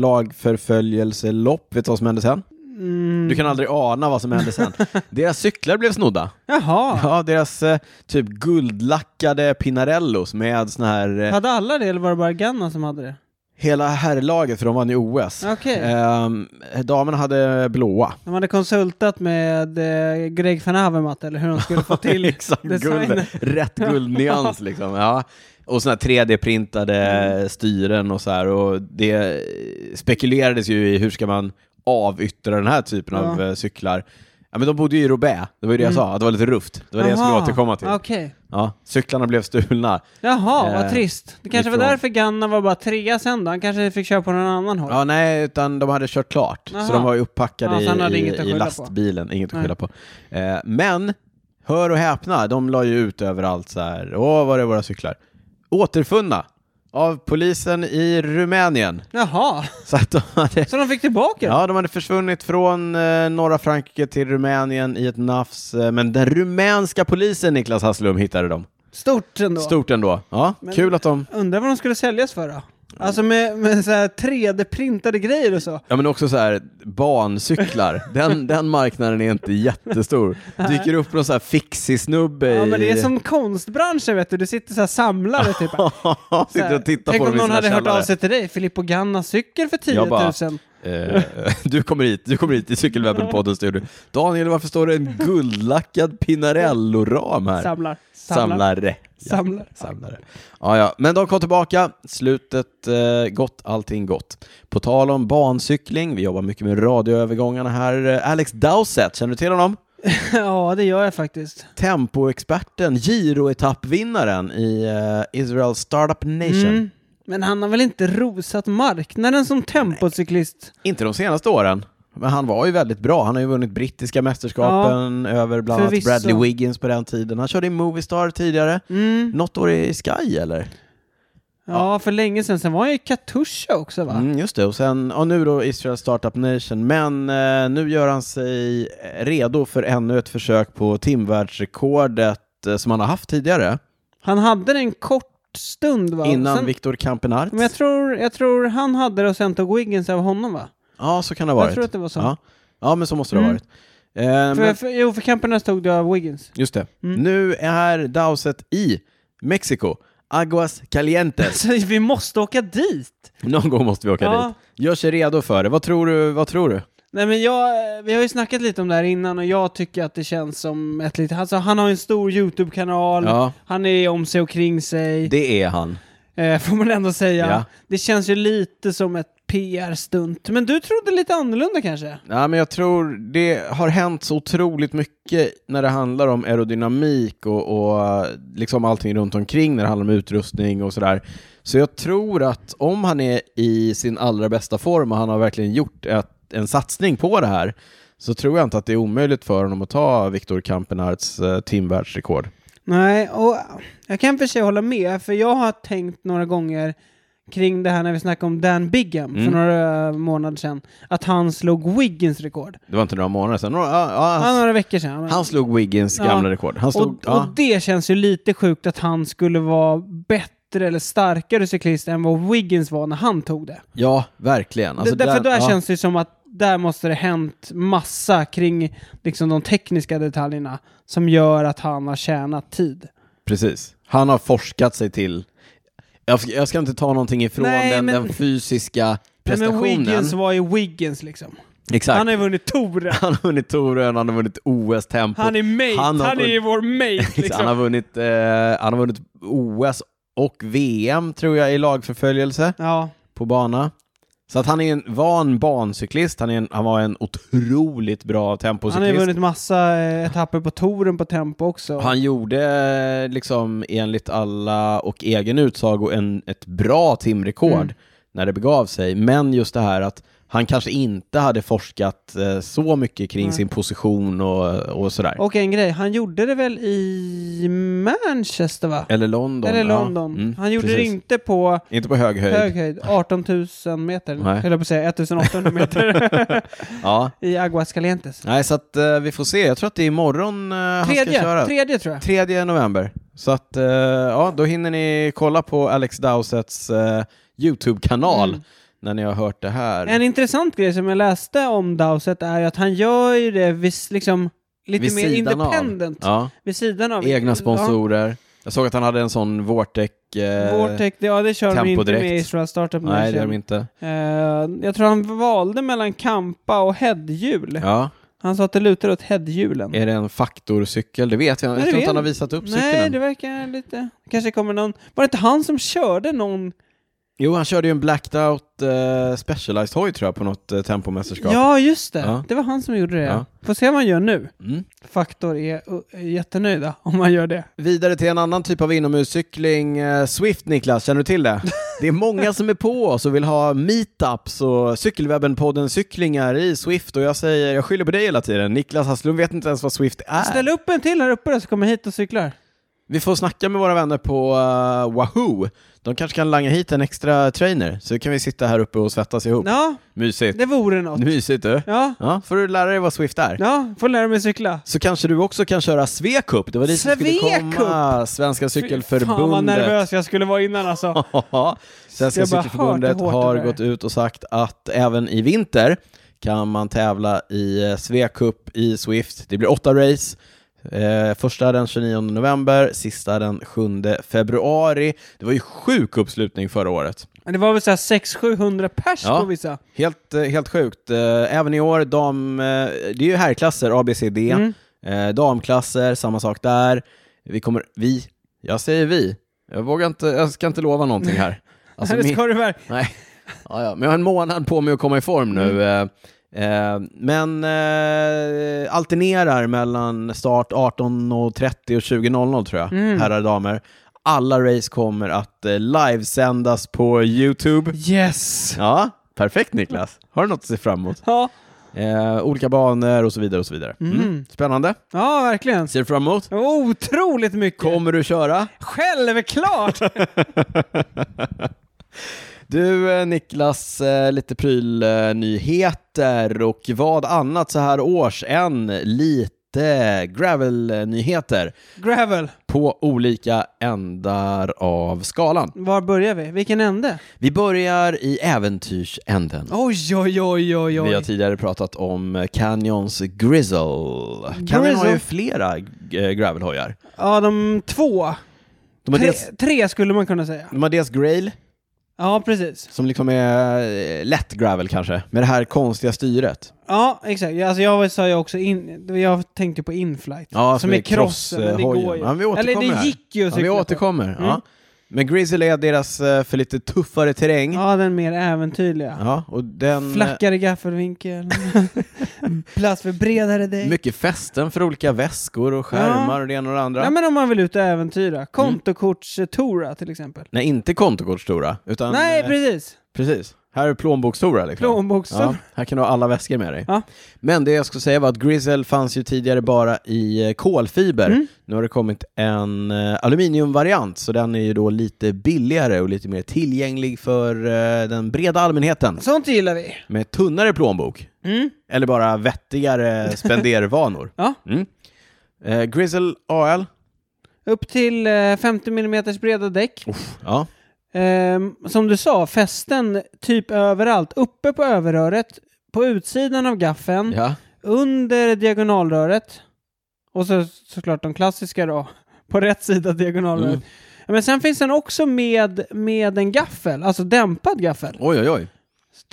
lagförföljelselopp. Vet du vad som hände sen? Mm. Du kan aldrig ana vad som hände sen. deras cyklar blev snodda. Jaha, Ja, deras eh, typ guldlackade Pinarellos med såna här eh, hade alla det eller var det bara Ganna som hade det? Hela herrlaget, för de vann ju OS. Okej, Ehm, damerna hade blåa. de hade konsultat med eh, Greg van Avermaet eller hur de skulle få till... Exakt, designen. guld, rätt guldnyans liksom. Ja. Och sådana 3D-printade Mm. styren och så här. Och det spekulerades ju i hur ska man avyttra den här typen Ja. Mm. av eh, cyklar. Ja, men de bodde ju i Roubaix, det var ju det jag sa, att det var lite rufft. Det var det jag skulle Jaha, återkomma till. Okej. Ja, cyklarna blev stulna. Jaha, Eh, vad trist. Det kanske var ifrån- därför Ganna var bara trea sen då. Han kanske fick köra på någon annan håll. Ja, nej, utan de hade kört klart. Aha. Så de var ju upppackade Ja, så han i, hade i, inget att i skylla på. lastbilen. Inget att Nej. skylla på. Eh, men, hör och häpna, de la ju ut överallt så här. Åh, var är våra cyklar? Återfunna av polisen i Rumänien. Jaha, Så att de hade, så de fick tillbaka det? ja, de hade försvunnit från eh, norra Frankrike till Rumänien i ett nafs. Eh, men den rumänska polisen, Niklas Hasslum, hittade dem. Stort ändå. Stort ändå. Ja, Men- kul att de... Undrar vad de skulle säljas för då? Alltså med, med så här 3D-printade grejer och så. Ja men också så här bancyklar, den, den marknaden är inte jättestor. Dyker upp någon så här fixie-snubbe Ja men det är i- som konstbranschen vet du, du sitter så här samlare typ. Så sitter här, och tittar Tänk på om dem i någon sina hade hört källare. av sig till dig, Filippo Ganna cykel för 10 000. Jag bara, Eh, du kommer hit, du kommer hit i cykelwebben-podden studio. Daniel, varför står det en guldlackad Pinarello-ram här? Samlar. Samlar. Samlare. Ja, Samlare. samlare. Ja, ja. Men de kom tillbaka, slutet eh, gott, allting gott. På tal om bancykling, vi jobbar mycket med radioövergångarna här. Eh, Alex Dowsett, känner du till honom? Ja, det gör jag faktiskt. Tempoexperten, giroetappvinnaren i eh, Israel Startup Nation. Mm. Men han har väl inte rosat marknaden som tempocyklist? Inte de senaste åren. Men han var ju väldigt bra. Han har ju vunnit brittiska mästerskapen över bland annat Förvisso. Bradley Wiggins på den tiden. Han körde i Movistar tidigare. Mm. Något år i Sky eller? Ja, för länge sedan. Sen var han ju i Katusha också va? Mm, just det, och sen, ja, nu då Israel Startup Nation, men eh, nu gör han sig redo för ännu ett försök på timvärldsrekordet eh, som han har haft tidigare, Han hade det en kort stund va? innan sen, Viktor Campenart. Men jag tror, jag tror han hade det och sen tog Wiggins av honom va? Ja, så kan det ha varit. Jag tror att det var så. Ja, ja men så måste det ha Mm. varit. Eh, För, men, för, jo, för Campernas tog det av Wiggins. just det. Mm. Nu är Dowset i Mexiko, Aguas Calientes. Så vi måste åka dit! Någon gång måste vi åka Ja. dit. Gör sig redo för det. Vad tror du? Vad tror du? Nej men jag, eh, vi har ju snackat lite om det här innan och jag tycker att det känns som ett litet, alltså han har ju en stor YouTube-kanal, Ja. han är om sig och kring sig, Det är han. eh, får man ändå säga. Ja. Det känns ju lite som ett PR-stunt. Men du trodde lite annorlunda kanske? Nej, men jag tror det har hänt så otroligt mycket när det handlar om aerodynamik och, och liksom allting runt omkring när det handlar om utrustning och sådär. Så jag tror att om han är i sin allra bästa form och han har verkligen gjort ett, en satsning på det här så tror jag inte att det är omöjligt för honom att ta Viktor Kampenarts eh, timvärldsrekord. Nej, och jag kan för sig hålla med, för jag har tänkt några gånger kring det här när vi snackade om Dan Bigham för Mm. några eh, månader sedan, att han slog Wiggins rekord. Det var inte några månader sedan. Några, ja, ja, Han han, några veckor sedan. men- Alltså, han slog Wiggins Ja. gamla rekord. Han slog, och, ja. och det känns ju lite sjukt att han skulle vara bättre eller starkare cyklist än vad Wiggins var när han tog det. Ja, verkligen. Alltså, D- Därför den- där ja. känns det ju som att där måste det hänt massa kring liksom, de tekniska detaljerna som gör att han har tjänat tid. Precis. Han har forskat sig till... Jag ska, jag ska inte ta någonting ifrån Nej, den, men- den fysiska Nej, Men prestationen. Wiggins var ju Wiggins liksom. Exakt. Han, Han har ju vunnit Toren. har vunnit Torön, han har vunnit OS-tempo. Han är mate, han, Han har är ju vunnit- vår mate liksom. han, har vunnit, eh, han har vunnit OS och VM, tror jag, i lagförföljelse Ja, på bana. Så att han är en van bancyklist, han, är en, han var en otroligt bra han har ju tempocyklist. vunnit massa eh, etapper på Toren på tempo också. Han gjorde eh, liksom enligt alla och egen utsago en, ett bra timrekord Mm. när det begav sig. Men just det här att han kanske inte hade forskat eh, så mycket kring Nej. sin position och, och sådär. Och en grej, han gjorde det väl i Manchester va? Eller London. Eller ja. London. Mm, han gjorde det precis. inte på Inte på hög höjd. hög höjd, 18 000 meter, Nej. höll jag på att säga, 1800 meter Ja. i Aguascalientes. Nej, så att eh, vi får se. Jag tror att det är imorgon eh, han ska köra. Tredje, tredje tror jag. 3 november. Så att, eh, ja, då hinner ni kolla på Alex Dowsets eh, YouTube-kanal Mm. när ni har hört det här. En intressant grej som jag läste om Dowsett är ju att han gör ju det vis, liksom lite Vid mer sidan av. independent. Ja. Vid sidan av. Egna Ja. sponsorer. Jag såg att han hade en sån Vortec... Eh, Vortec, det- ja det kör de inte Tempodirekt. med i Israel Startup Nej, det är Nation. de inte. Eh, jag tror han valde mellan Kampa och headhjul. Ja. Han sa att det lutar åt headhjulen. Är det en faktorcykel? Det vet jag, jag Nej, tror det vet inte han har jag. visat upp Nej, cykeln det än. verkar lite... Kanske kommer någon... Var det inte han som körde någon... Jo, han körde ju en blacked out eh, specialized hoj tror jag på något eh, tempomästerskap. Ja, just det. Ja. Det var han som gjorde det. Ja. Får se vad han gör nu. Mm. Faktor är uh, jättenöjda om han gör det. Vidare till en annan typ av inomhuscykling. Eh, Swift, Niklas, känner du till det? Det är många som är på oss och vill ha meetups och Cykelwebben-podden cyklingar i Swift och jag säger, jag skyller på dig hela tiden. Niklas Hasslund vet inte ens vad Swift är. Ställ upp en till här uppe då, så kommer jag hit och cyklar. Vi får snacka med våra vänner på eh, Wahoo. De kanske kan langa hit en extra trainer, så kan vi sitta här uppe och svettas ihop. Ja, Mysigt. det vore något. Mysigt du. Ja, Ja, får du lära dig vad Swift är. ja får lära mig cykla. Så kanske du också kan köra Svecup. Det var dit vi skulle Svecup! komma. Svenska Fan vad cykelförbundet. nervös jag skulle vara innan alltså. Ja, Svenska Jag bara hört cykelförbundet hur hårt det har där är. gått ut och sagt att även i vinter kan man tävla i eh, Svea Cup i Swift. Det blir åtta race. Eh, första den 29 november, sista den 7 februari. Det var ju sjuk uppslutning förra året. Men det var väl såhär 600-700 pers Ja. på vissa. Helt, eh, helt sjukt. Eh, Även i år, dam, eh, det är ju herrklasser, A, B, C, D. Mm. Eh, Damklasser, samma sak där. Vi kommer, vi, jag säger vi. Jag vågar inte, jag ska inte lova någonting här. Alltså, det min- ska du väl. Nej, ja, ja. men jag har en månad på mig att komma i form nu. Eh, eh, Men eh, alternerar mellan start 18.30 och 20.00 tror jag, herrar och damer. Alla race kommer att eh, livesändas på YouTube. Yes! Ja, perfekt Niklas. Har du något att se fram emot? Ja, Eh, olika banor och så vidare och så vidare. Mm. Spännande. ja verkligen. Ser du fram emot? Otroligt mycket! Kommer du köra? Självklart! Du eh, Niklas, eh, lite prylnyheter och vad annat så här års än lite gravelnyheter Gravel, på olika ändar av skalan. var börjar vi? Vilken ände? Vi börjar i äventyrsänden. Oj, oj, oj, oj, Vi har oj. tidigare pratat om Canyons Grizzle. Canyon har ju Grizzle. flera eh, gravelhojar. Ja, de två. De har, tre, dels, tre skulle man kunna säga. de har dels Grail, Ja, precis. som liksom är eh, lätt gravel kanske, med det här konstiga styret. Ja, exakt. Alltså jag sa ju också in... Jag tänkte på inflight. Ja, som är krossen, men det crosshojen. går ju. Ja, vi återkommer Eller det här. gick ju att Ja, vi cykla på. Mm. återkommer. Ja. Men Grizzly är deras eh, för lite tuffare terräng. Ja. Ja, den mer äventyrliga. och den, eh, Flackare gaffelvinkel. Mm. Plats för bredare eh, däck. mycket fästen för olika väskor och skärmar Ja. och det ena och det andra. Ja, men om man vill ut och äventyra. Mm. Kontokortstora till exempel. Nej, inte kontokortsstora, utan Nej, eh, precis. precis. Här är plånboksstora. Liksom. Plånboksstora. Ja, här kan du ha alla väskor med dig. Ja. Men det jag skulle säga var att Grizzle fanns ju tidigare bara i eh, kolfiber. Mm. Nu har det kommit en eh, aluminiumvariant, så den är ju då lite billigare och lite mer tillgänglig för eh, den breda allmänheten. Sånt gillar vi. Med tunnare plånbok. Mm. Eller bara vettigare spendervanor. Ja. Mm. Eh, Grizzle AL. Upp till eh, 50 mm breda däck. Ja. Ehm, som du sa, fästen typ överallt. Uppe på överröret, på utsidan av gaffeln, ja. under diagonalröret och så såklart de klassiska då, på rätt sida diagonalröret. Mm. Ja, Men sen finns den också med, med en gaffel, alltså dämpad gaffel. Oj, oj, oj.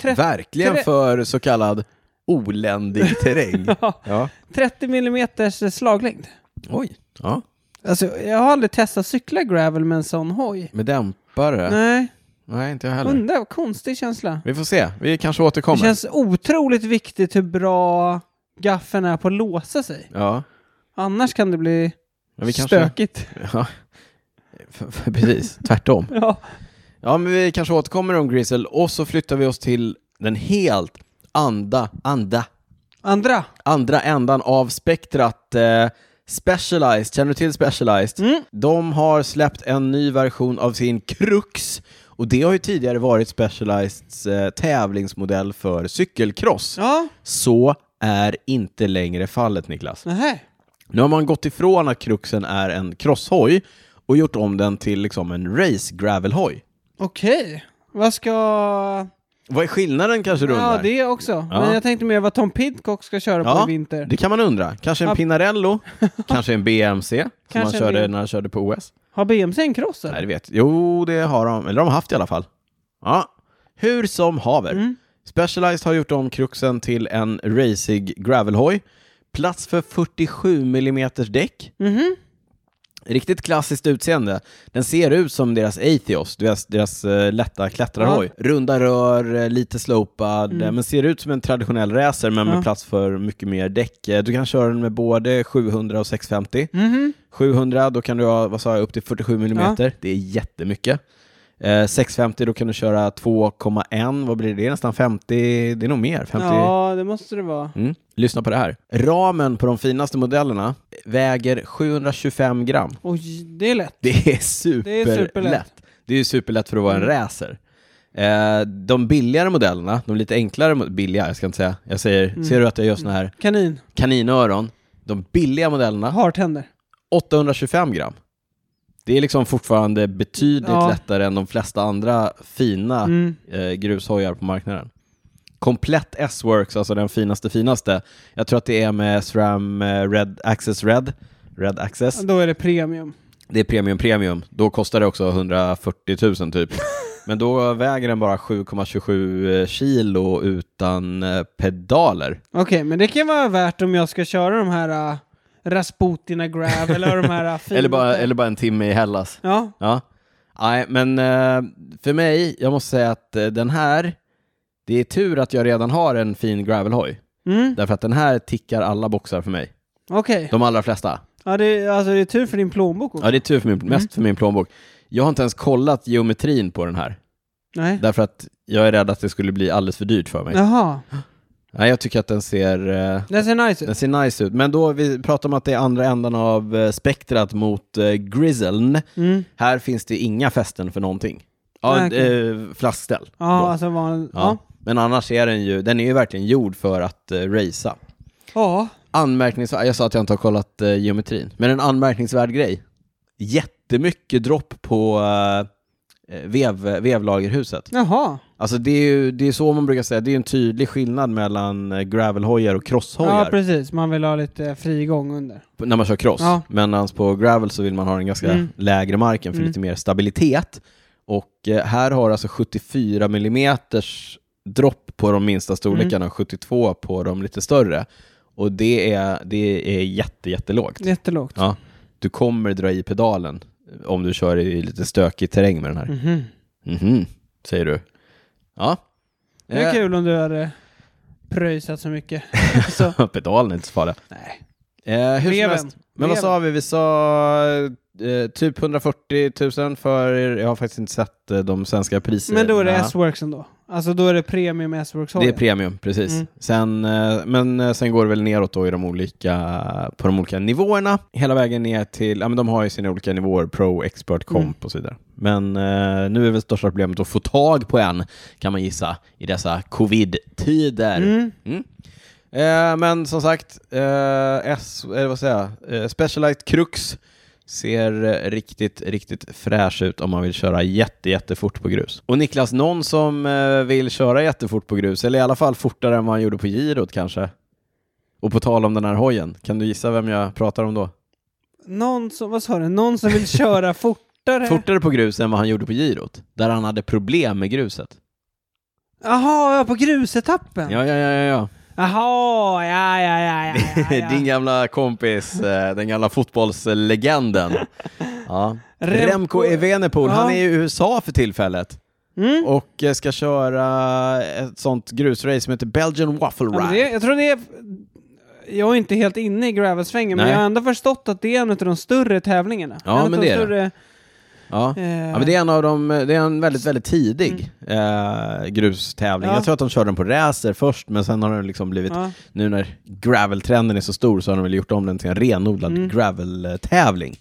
Tret- Verkligen tre- för så kallad oländig terräng. Ja, ja. 30 mm slaglängd. Oj. Ja. Alltså, jag har aldrig testat cykla gravel med en sån hoj. Med dämpare. Nej, Nej, inte jag heller. undrar, vad konstig känsla. Vi får se. Vi kanske Det återkommer. känns otroligt viktigt hur bra gaffeln är på att låsa sig. Ja. Annars kan det bli Men vi kanske... stökigt. Ja. Precis. Tvärtom. Ja. Ja, men vi kanske återkommer om Grizzle och så flyttar vi oss till den helt anda, anda, Andra. andra ändan av spektrat eh, Specialized, känner du till Specialized? Mm. De har släppt en ny version av sin Crux och det har ju tidigare varit Specializeds eh, tävlingsmodell för cykelkross. Ja, Så är inte längre fallet Niklas. nähä. Nu har man gått ifrån att Cruxen är en crosshoj och gjort om den till liksom en race gravelhoj. Okej. Vad ska... Vad är skillnaden kanske du Ja, undrar? det också. Ja. Men jag tänkte mer vad Tom Pidcock ska köra på i vinter. det kan man undra. Kanske en Ja. Pinarello, kanske en BMC som Kanske han en körde BMC. när han körde på OS. Har BMC en cross Nej, eller? det vet Jo, det har de. Eller de har haft i alla fall. Ja, hur som haver. Specialized har gjort om kruxen till en racing gravelhoj. Plats för 47 mm däck. Mhm. Riktigt klassiskt utseende. Den ser ut som deras Atheos, deras, deras eh, lätta klättrarhoj. Runda rör, eh, lite slopad, eh, men ser ut som en traditionell racer men med Ja. plats för mycket mer däck. Eh, Du kan köra den med både 700 och 650. Mhm. 700, då kan du ha, vad sa jag, upp till 47 mm. Det är jättemycket. Eh, 650, då kan du köra 2,1. Vad blir det? Det är nästan 50, det är nog mer. 50. Ja, det måste det vara. Mm. Lyssna på det här. Ramen på de finaste modellerna väger 725 gram. Oj, det är lätt. Det är superlätt. Mm. Det är superlätt, superlätt. för att vara en racer. Eh, de billigare modellerna, de lite enklare, mo- billiga, jag ska inte säga, jag säger, ser du att jag gör såna här Kanin. kaninöron? De billiga modellerna, Har tänder. 825 gram. Det är liksom fortfarande betydligt Ja. lättare än de flesta andra fina Mm. eh, grushojar på marknaden. Komplett S-Works, alltså den finaste finaste. Jag tror att det är med SRAM eh, Red, Access Red Red Access. Då är det premium. Det är premium premium. Då kostar det också 140 000 typ. Men då väger den bara 7,27 eh, kilo utan eh, pedaler. Okej, men det kan vara värt om jag ska köra de här uh, Rasputina Grav eller de här uh, fina... Eller bara, eller bara en timme i Hellas. Ja, Ja. Nej, men eh, för mig, jag måste säga att eh, den här, det är tur att jag redan har en fin gravelhoj. mm. Därför att den här tickar alla boxar för mig. okej. De allra flesta. Ja, det, är- alltså, det är tur för din plånbok också. Ja, det är tur för min, mest för min plånbok. Jag har inte ens kollat geometrin på den här. Nej. Därför att jag är rädd att det skulle bli alldeles för dyrt för mig. Jaha, Nej, jag tycker att den ser, eh, det ser nice den ut. ser nice ut. Men då, vi pratar om att det är andra ändan av eh, spektrat mot eh, grizzlen. Mm. Här finns det inga fästen för någonting. Ja, Nej, okej. eh, flaskställ. Ja, Då. alltså vanlig... Ja. Ja. Men annars är den ju, den är ju verkligen gjord för att eh, racea. ja. Anmärkningsvärd, jag sa att jag inte har kollat eh, geometrin, men en anmärkningsvärd grej. Jättemycket dropp på eh, vev, vevlagerhuset. Jaha. Alltså det är ju det är så man brukar säga, det är en tydlig skillnad mellan eh, gravelhojar och Ja, crosshojar precis. Man vill ha lite frigång under. när man kör cross. Ja. Medan på gravel så vill man ha den ganska Mm. lägre marken för Mm. lite mer stabilitet. Och eh, här har alltså 74 mm dropp på de minsta storlekarna Mm. och 72 på de lite större. Och det är, det är jätte, jättelågt. Jättelågt. Ja. Du kommer dra i pedalen eh, om du kör i lite stökig terräng med den här. Mhm. Mhm, säger du. Ja. Det är Eh, kul om du hade pröjsat så mycket. så. Pedalen är inte så farlig. Nej. Eh, hur som Veven. helst. Men vad Veven. sa vi? Vi sa eh, typ 140 000 för, jag har faktiskt inte sett eh, de svenska priserna. Men då är det S-Works ändå. Alltså då är det premium S-Works Det är premium, precis. Mm. Sen, eh, men eh, sen går det väl neråt då i de olika, på de olika nivåerna. Hela vägen ner till, ja men de har ju sina olika nivåer, Pro, Expert, Comp Mm. och så vidare. Men eh, nu är väl största problemet att få tag på en, kan man gissa, i dessa covid-tider. Mm. Eh, men som sagt, eh, S, eller vad säger jag, eh, Specialized Crux ser eh, riktigt, riktigt fräsch ut om man vill köra jätte, jättefort på grus. Och Niklas, någon som eh, vill köra jättefort på grus, eller i alla fall fortare än vad han gjorde på girot kanske? Och på tal om den här hojen, kan du gissa vem jag pratar om då? Någon som, vad sa du? Någon som vill köra fortare? Fortare på grus än vad han gjorde på girot, där han hade problem med gruset. Jaha, ja, på grusetappen? Ja, ja, ja, ja. ja. Jaha, ja, ja, ja, ja, ja, ja. Din gamla kompis, eh, den gamla fotbollslegenden. Ja. Remco- Remco Evenepoel, Ja. han är i USA för tillfället Mm. och eh, ska köra ett sånt grusrace som heter Belgian Waffle Ja, men Ride. det, jag tror det är... Jag är inte helt inne i gravelsvängen, men Nej. jag har ändå förstått att det är en av de större tävlingarna. Ja, en men av de det är det. större, Ja. eh, Ja, men det är en av de, det är en väldigt, väldigt tidig eh, grustävling. Mm. Ja. Jag tror att de körde den på racer först, men sen har den liksom blivit, ja. nu när graveltrenden är så stor så har de väl gjort om den till en renodlad Mm. graveltävling.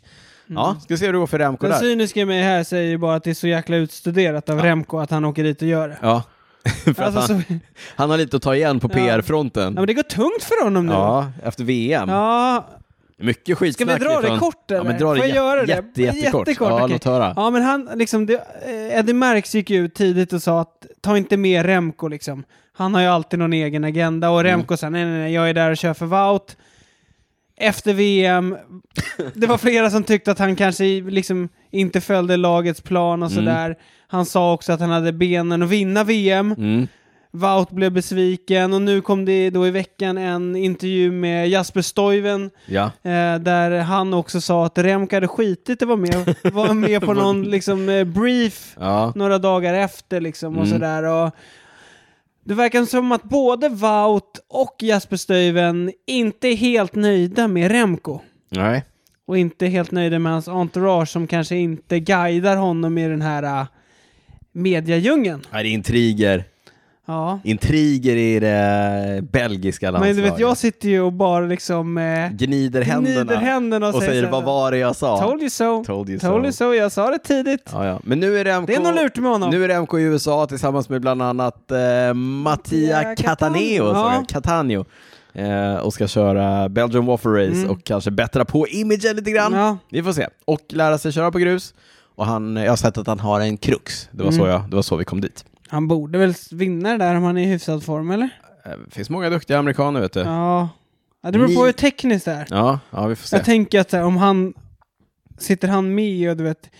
Ja, ska se hur det går för Remco Den där. cyniska i mig här säger ju bara att det är så jäkla utstuderat av Remco att han åker dit och gör det. Ja. för att Alltså, han- så, ja, Han har lite att ta igen på Ja. PR-fronten. men det går tungt för honom nu. Ja, efter VM. Ja, Mycket Ska skitsnack. vi dra det ifrån- kort eller? Ja, men dra det Får jag jä- göra det? Jätte, jättekort. Jättekort, ja, okej. låt höra. Ja, men han, liksom, det, eh, Eddie Merckx gick ju ut tidigt och sa att ta inte med Remco liksom. Han har ju alltid någon egen agenda och Remco sa nej, nej, nej, jag är där och kör för Wout. Efter VM, det var flera som tyckte att han kanske liksom inte följde lagets plan och sådär. Han sa också att han hade benen att vinna VM. Mm. Wout blev besviken och nu kom det då i veckan en intervju med Jasper Stoiven Ja. Eh, där han också sa att Remco hade skitit att vara med, var med på någon liksom, eh, brief Ja. några dagar efter liksom, och Mm. sådär. Och det verkar som att både Wout och Jasper Stuyven inte är helt nöjda med Remco. Nej. Och inte helt nöjda med hans entourage som kanske inte guidar honom i den här uh, mediajungeln. Nej, det är intriger. Ja. Intriger i det belgiska Men landslaget. du vet, jag sitter ju och bara liksom eh, Gnider händerna. gnider händerna och, och säger så här, vad var det jag sa? Told you so. Told you Told so. you so. Jag sa det tidigt. Ja, ja. Men nu är det MK... Det är något lurt med honom. Nu är det MK i USA tillsammans med bland annat eh, Mattia Mattia Cataneo, Ja. så- Catania, eh, och ska köra Belgian Waffle Race Mm. och kanske bättra på imagen lite grann. Ja. Vi får se. Och lära sig köra på grus. Och han, jag har sett att han har en krux. Det var, så, Mm. jag, det var så vi kom dit. Han borde väl vinna det där om han är i hyfsad form, eller? Eh, Det finns många duktiga amerikaner vet du. Ja. Ja, det beror på hur tekniskt det är. Ja, ja vi får se. Jag tänker att så här, om han... Sitter han med och du vet...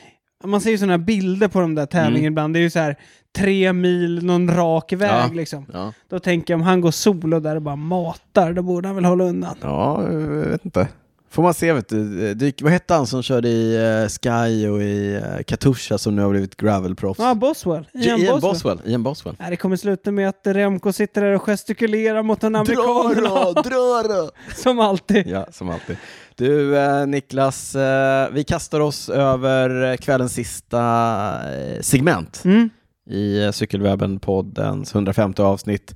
Man ser ju sådana bilder på de där tävlingarna Mm. ibland. Det är ju så här tre mil, någon rak väg Ja. liksom. Ja. Då tänker jag om han går solo där och bara matar, då borde han väl hålla undan. ja, jag vet inte. Får man se, vet du. Dyk, vad hette han som körde i eh, Sky och i eh, Katusha som nu har blivit gravelproffs? Ja, Boswell. J- Ian Boswell. Ian Boswell. Nej, det kommer sluta med att Remco sitter där och gestikulerar mot en amerikan Dra då, dra då! som alltid. Ja, som alltid. Du eh, Niklas, eh, vi kastar oss över eh, kvällens sista eh, segment Mm. i eh, Cykelwebben-poddens 150 avsnitt.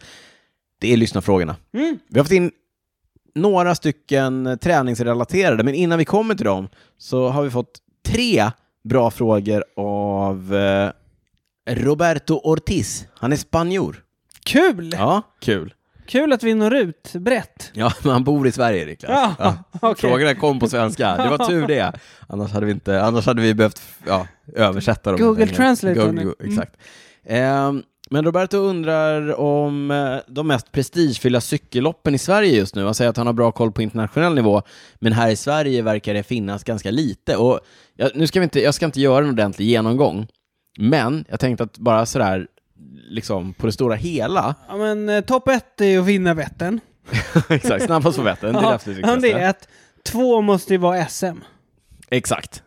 Det är lyssnarfrågorna. Mm. Vi har fått in några stycken eh, träningsrelaterade, men innan vi kommer till dem så har vi fått tre bra frågor av eh, Roberto Ortiz. Han är spanjor. Kul! Ja, kul. Kul att vi når ut brett. Ja, men han bor i Sverige, Niklas. Ja, okej. Frågorna kom på svenska. Det var tur det. Annars hade vi, inte, annars hade vi behövt ja, översätta dem. Google Translate, Mm. Tony. Google, exakt. Ehm, men Roberto undrar om eh, de mest prestigefyllda cykelloppen i Sverige just nu. Han säger att han har bra koll på internationell nivå, men här i Sverige verkar det finnas ganska lite. Och jag, nu ska vi inte, jag ska inte göra en ordentlig genomgång, men jag tänkte att bara sådär, liksom på det stora hela, Ja, men eh, topp ett är ju att vinna Vättern. exakt, snabbast på Vättern, det är det absolut ja, viktigaste. det är ett. Två måste ju vara SM. Exakt.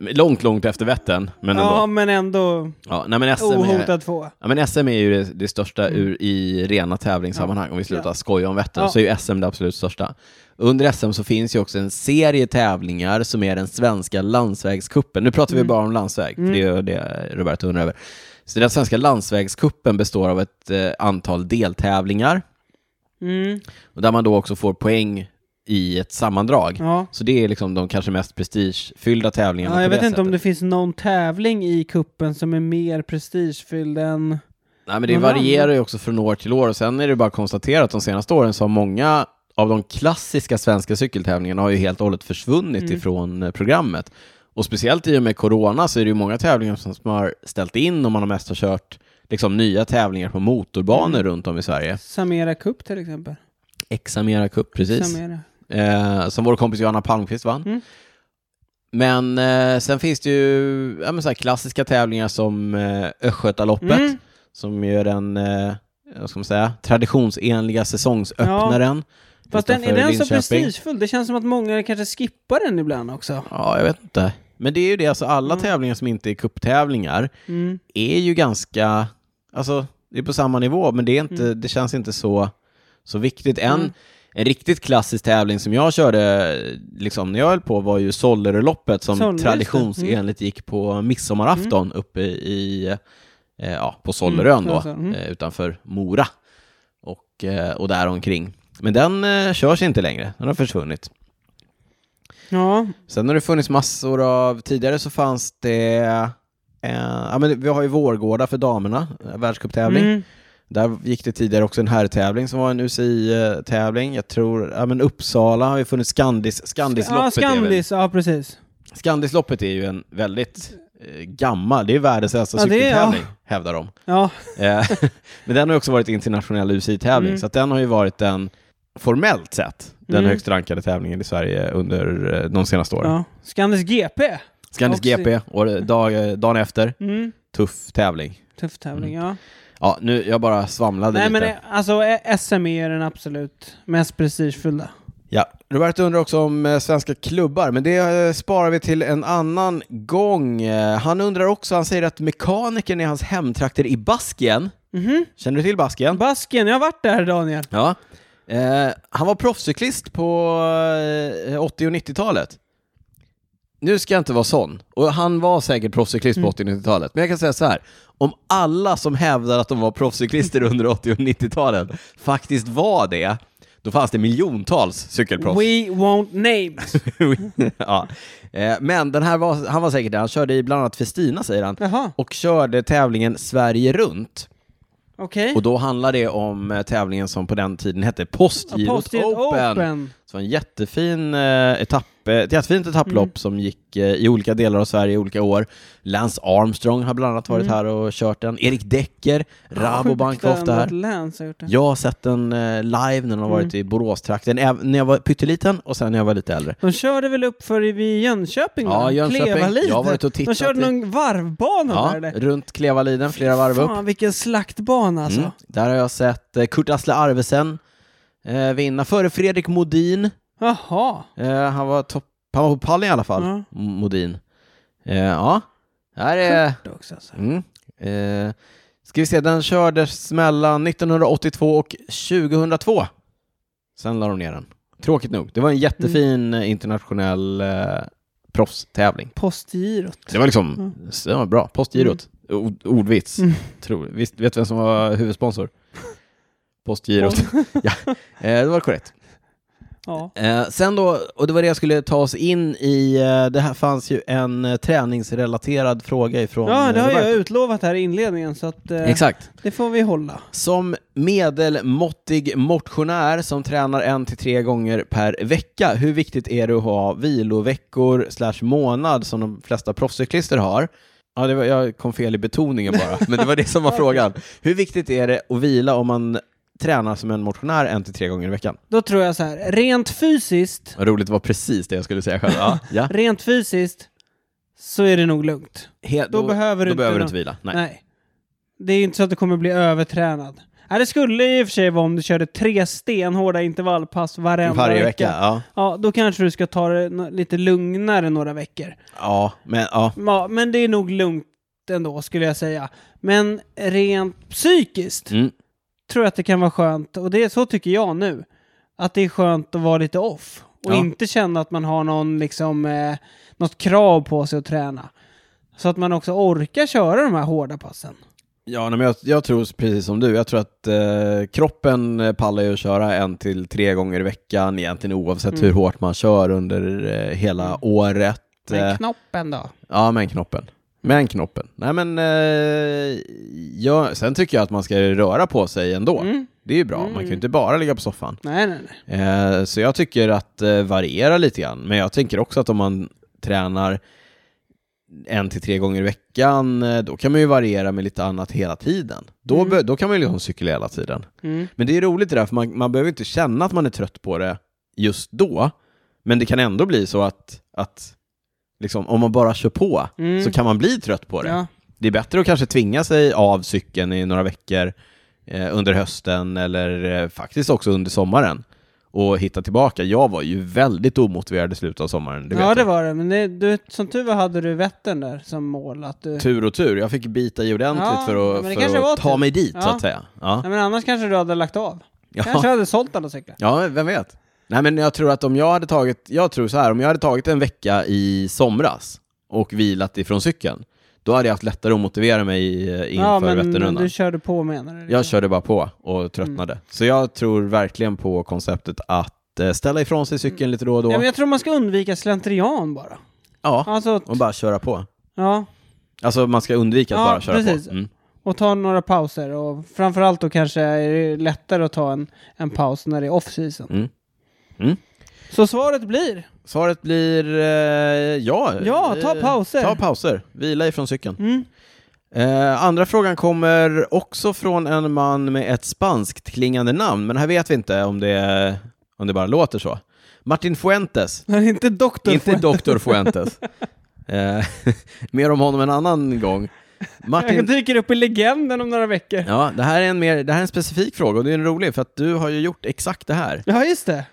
Långt, långt efter Vättern, men ändå. Ja, men ändå Ja, nej, men SM är, ohotad två. ja, men SM är ju det, det största ur, i rena tävlingssammanhang, om vi slutar Mm. Ja. skoja om Vättern, Ja. så är ju SM det absolut största. Under SM så finns ju också en serie tävlingar som är den svenska landsvägskuppen. Nu pratar Mm. vi bara om landsväg, för det är ju det Roberto undrar över. Så den svenska landsvägskuppen består av ett eh, antal deltävlingar, Mm. och där man då också får poäng i ett sammandrag. Ja. Så det är liksom de kanske mest prestigefyllda tävlingarna Mm. Ja, jag på det vet inte om sättet. det finns någon tävling i kuppen som är mer prestigefylld än... Nej, men det Någon varierar ju också från år till år och sen är det bara att konstatera att de senaste åren så har många av de klassiska svenska cykeltävlingarna har ju helt och hållet försvunnit ifrån eh, programmet. Och speciellt i och med corona så är det ju många tävlingar som som har ställt in och man har mest har kört liksom nya tävlingar på motorbanor runt om i Sverige. Samera Cup till exempel. Examera Cup, precis. Samera. Eh, som vår kompis Johanna Palmqvist vann. Mm. Men eh, sen finns det ju ja, men så här klassiska tävlingar som eh, Östgötaloppet, Mm. som ju är den eh, vad ska man säga, traditionsenliga säsongsöppnaren. Fast den, är utanför den så Linköping. prestigefull? Det känns som att många kanske skippar den ibland också. Ja, jag vet inte. Men det är ju det, alltså alla tävlingar som inte är kupptävlingar Mm. är ju ganska, alltså det är på samma nivå, men det, är inte, det känns inte så, så viktigt. En, en riktigt klassisk tävling som jag körde liksom, när jag höll på var ju Solleröloppet som Sollerö, just det. traditionsenligt gick på midsommarafton uppe i, eh, ja, på Sollerön Mm, då, alltså, mm. eh, utanför Mora och, eh, och där omkring. Men den eh, körs inte längre, den har försvunnit. Ja. Sen har det funnits massor av, tidigare så fanns det, eh, ja, men vi har ju Vårgårda för damerna, eh, världscuptävling. Mm. Där gick det tidigare också en herrtävling som var en UCI-tävling. Jag tror, ja men Uppsala har ju funnits Skandis, Ja, Skandisloppet. är väl, Skandis, ja precis. Skandisloppet är ju en väldigt eh, gammal, det är världens äldsta Ja, det är- cykeltävling, hävdar de. Ja, Eh, men den har ju också varit internationell UCI-tävling, Mm. så att den har ju varit den, formellt sett, den Mm. högst rankade tävlingen i Sverige under eh, de senaste åren. ja. Skandis GP. Skandis Också- GP, och dag, eh, dagen efter, Mm. tuff tävling. Tuff tävling, Mm. ja. Ja, nu, jag bara svamlade Nej lite. men eh, alltså eh, SM är den absolut mest prestigefulla. Ja, Roberto undrar också om eh, svenska klubbar, men det eh, sparar vi till en annan gång. Eh, han undrar också, han säger att mekanikern i hans hemtrakter i Baskien, Mhm. känner du till Baskien? Basken, jag har varit där Daniel. ja. Eh, han var proffscyklist på eh, 80 och 90-talet. Nu ska jag inte vara sån, och han var säkert proffscyklist på 80 och 90-talet, men jag kan säga så här. Om alla som hävdar att de var proffscyklister under 80 och 90-talet faktiskt var det, då fanns det miljontals cykelproffs. We won't names. ja. Eh, Men den här var, han var säkert där, han körde i bland annat Festina säger han, Jaha, och körde tävlingen Sverige runt. okej. Och då handlar det om eh, tävlingen som på den tiden hette Postgirot Postgirot Open. Open. Så en jättefin eh, etapp etapplopp. Ett jättefint etapplopp som gick eh, i olika delar av Sverige i olika år. Lance Armstrong har bland annat varit här och kört den. Erik Decker, Rabobank var ofta här. Läns har gjort det. Jag har sett den eh, live när den har varit i Boråstrakten, äv- när jag var pytteliten och sen när jag var lite äldre. De körde väl upp för i vid Jönköping? Ja, va? Jönköping. Klevaliden. Jag har varit och De tittat körde i- någon varvbana Ja, där. eller? runt Klevaliden, flera varv upp. Fan, vilken slaktbana alltså. Mm. Där har jag sett eh, Kurt Asle Arvesen eh, vinna, före Fredrik Modin. Jaha. Eh, han, var topp, han var på pallen i alla fall, Ja. M- Modin. Eh, ja, det här är... Det också, alltså. Mm. Eh, ska vi se, den kördes mellan 1982 och 2002. Sen la de ner den. Tråkigt nog. Det var en Mm. jättefin eh, internationell eh, proffstävling. Postgirot. Det var liksom så det var bra. Postgirot. Ord, ordvits. Mm. Tror, visst, vet du vem som var huvudsponsor? Postgirot. ja, eh, det var korrekt. Ja. Eh, sen då, och det var det jag skulle ta oss in i, eh, det här fanns ju en eh, träningsrelaterad fråga ifrån ja, det eh, har jag Roberto. utlovat här i inledningen så att eh, Exakt. det får vi hålla. Som medelmåttig motionär som tränar en till tre gånger per vecka, hur viktigt är det att ha viloveckor slash månad som de flesta proffscyklister har? Ja, det var, jag kom fel i betoningen bara, men det var det som var frågan. Hur viktigt är det att vila om man tränar som en motionär en till tre gånger i veckan? Då tror jag så här, rent fysiskt, Vad roligt, det var precis det jag skulle säga själv. Ja, ja. rent fysiskt så är det nog lugnt. He- Då behöver du då inte behöver du någon- inte vila. Nej. Nej. Det är ju inte så att du kommer bli övertränad. Nej, det skulle i och för sig vara om du körde tre stenhårda intervallpass varenda Varje vecka. Ja. Ja, då kanske du ska ta det nå- lite lugnare några veckor. ja, men ja. Ja, men det är nog lugnt ändå skulle jag säga. Men rent psykiskt Mm. tror jag att det kan vara skönt, och det är så tycker jag nu, att det är skönt att vara lite off och Ja. inte känna att man har någon, liksom, eh, något krav på sig att träna. Så att man också orkar köra de här hårda passen. Ja, nej, men jag, jag tror precis som du. Jag tror att eh, kroppen eh, pallar ju att köra en till tre gånger i veckan egentligen oavsett Mm. hur hårt man kör under eh, hela året. Eh, Men knoppen då? ja, men knoppen. Men knoppen. Nej, men eh, jag, sen tycker jag att man ska röra på sig ändå. Mm. Det är ju bra. Man kan ju inte bara ligga på soffan. Nej, nej, nej. Eh, så jag tycker att eh, variera lite grann. Men jag tänker också att om man tränar en till tre gånger i veckan, eh, då kan man ju variera med lite annat hela tiden. Då, be- då kan man ju liksom cykla hela tiden. Mm. Men det är roligt det där, för man, man behöver inte känna att man är trött på det just då. Men det kan ändå bli så att, att liksom, om man bara kör på Mm. så kan man bli trött på det. Ja. Det är bättre att kanske tvinga sig av cykeln i några veckor eh, under hösten eller eh, faktiskt också under sommaren och hitta tillbaka. Jag var ju väldigt omotiverad i slutet av sommaren. Det vet ja, det du. var det. Men det, du, som tur var hade du vätten där som mål. Att du, Tur och tur. Jag fick bita i ordentligt Ja, för att, men det för kanske att var ta tur. mig dit, så Ja. att säga. Ja. Nej, men annars kanske du hade lagt av. Kanske Ja. hade sålt alla cyklar. ja, vem vet? Nej, men jag tror att om jag hade tagit, jag tror så här, om jag hade tagit en vecka i somras och vilat ifrån cykeln, då hade jag haft lättare att motivera mig eh, inför ja, men Vätternrundan. du körde på menar du? Jag körde bara på Mm. och tröttnade. Så jag tror verkligen på konceptet att eh, ställa ifrån sig cykeln lite då och då. Mm. Ja, Ja, men jag tror man ska undvika slentrian bara. Alltså, och bara köra på. ja, Alltså man ska undvika att Ja, bara köra precis. på. Mm. och ta några pauser. Och framförallt då kanske är det lättare att ta en, en paus när det är off-season. Mm. Mm. Så svaret blir, Svaret blir eh, ja. Ja, ta Eh, pauser. Ta pauser. Vila ifrån cykeln. mm, Eh, andra frågan kommer också från en man med ett spanskt klingande namn, men här vet vi inte om det, om det bara låter så. Martin Fuentes det är inte doktor Inte Dr. Fuentes. Eh, mer om honom en annan gång. Jag Martin, dyker upp i legenden om några veckor. ja, det, här är en mer, det här är en specifik fråga och det är en rolig för att du har ju gjort exakt det här. Ja, just det.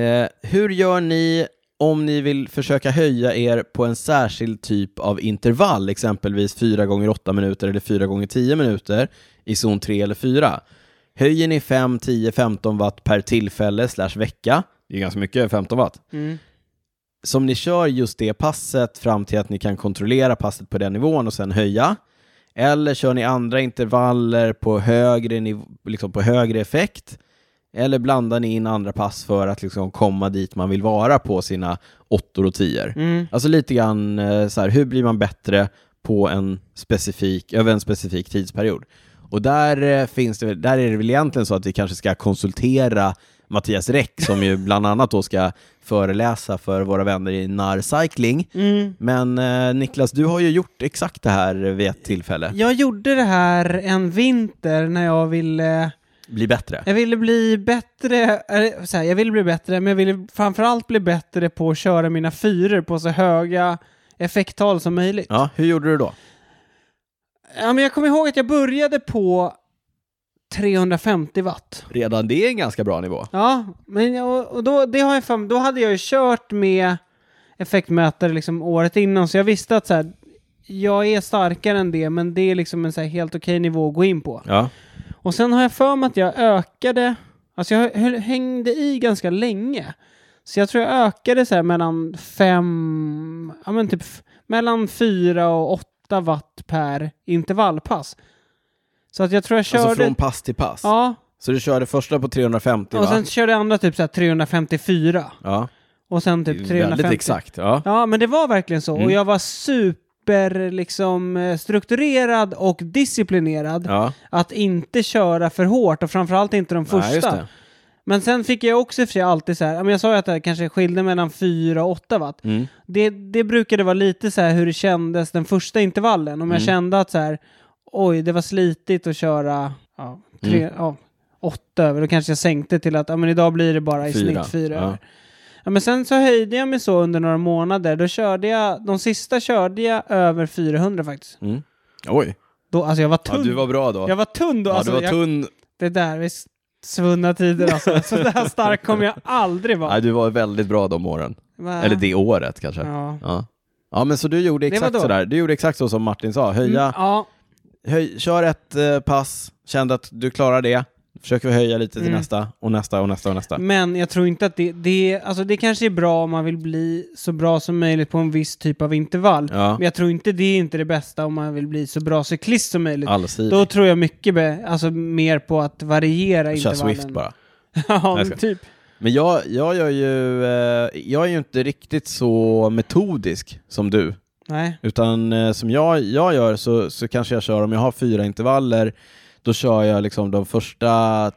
Eh, hur gör ni om ni vill försöka höja er på en särskild typ av intervall, exempelvis 4 gånger 8 minuter eller 4 gånger 10 minuter i zon 3 eller 4? Höjer ni 5, 10, 15 watt per tillfälle slash vecka? Det är ganska mycket 15 watt. Mm. som ni kör just det passet fram till att ni kan kontrollera passet på den nivån och sen höja? Eller kör ni andra intervaller på högre, niv- liksom på högre effekt? Eller blandar ni in andra pass för att liksom komma dit man vill vara på sina åttor och tior? Mm. Alltså lite grann eh, så här, hur blir man bättre på en specifik, över en specifik tidsperiod? Och där, eh, finns det, väl- där är det väl egentligen så att vi kanske ska konsultera Mattias Räck som ju bland annat då ska föreläsa för våra vänner i NAR Cycling. mm. Men eh, Niklas, du har ju gjort exakt det här vid ett tillfälle. Jag gjorde det här en vinter när jag ville Bli bättre. Jag ville bli bättre, eller så här, jag ville bli bättre, men jag ville framförallt bli bättre på att köra mina fyror på så höga effekttal som möjligt. Ja. Ja, hur gjorde du då? men jag kommer ihåg att jag började på 350 watt. Redan det är en ganska bra nivå. Ja, men jag, och då, det har jag fram, då hade jag ju kört med effektmätare liksom året innan, så jag visste att så här, jag är starkare än det, men det är liksom en så här helt okej nivå att gå in på. Ja. Och sen har jag för mig att jag ökade, alltså jag höll, hängde i ganska länge. Så jag tror jag ökade så här mellan fem, ja men typ f- mellan fyra och åtta watt per intervallpass. Så att jag tror jag körde... Alltså från pass till pass. Ja, Så du körde första på 350 och va? sen körde jag andra typ så här 354. Ja, Och sen typ Det är 350. väldigt exakt. Mm. Ja. Ja, men det var verkligen så. Och jag var super liksom eh, strukturerad och disciplinerad. Ja. Att inte köra för hårt och framförallt inte de Nej, just första. det. Men sen fick jag också i och för sig alltid så här, ja, men jag sa ju att det kanske skilde mellan 4 och 8 watt. Mm. Det, det brukade vara lite så här hur det kändes den första intervallen. Om Mm. jag kände att så här, oj, det var slitigt att köra ja, tre, Mm. ja, åtta över, då kanske jag sänkte till att ja, men idag blir det bara i Fyra. snitt fyra Ja. över. Ja, men sen så höjde jag mig så under några månader. Då körde jag, de sista körde jag över 400 faktiskt. Mm. Oj, Då, alltså jag var ja, tunn. du var bra då. Jag var tunn då. ja, alltså, du var jag, tunn. det där, vi svunna tider alltså. Så där stark kommer jag aldrig vara. Nej, du var väldigt bra de åren. Va? Eller det året kanske. Ja. Ja. ja. men så du gjorde var exakt då. sådär. Du gjorde exakt så som Martin sa. Höja, Mm, ja. höj, kör ett eh, pass, kände att du klarar det. Försöker höja lite till Mm. nästa och nästa och nästa och nästa. Men jag tror inte att det, det, alltså det kanske är bra om man vill bli så bra som möjligt på en viss typ av intervall. Ja, Men jag tror inte det är inte det bästa om man vill bli så bra cyklist som möjligt. allsidigt. Då tror jag mycket be, alltså mer på att variera Kör intervallen. Swift bara. ja, Jag men ska- typ. Men jag, jag gör ju, eh, jag är ju inte riktigt så metodisk som du. Nej. Utan eh, som jag, jag gör så, så kanske jag kör, om jag har fyra intervaller, då kör jag liksom de första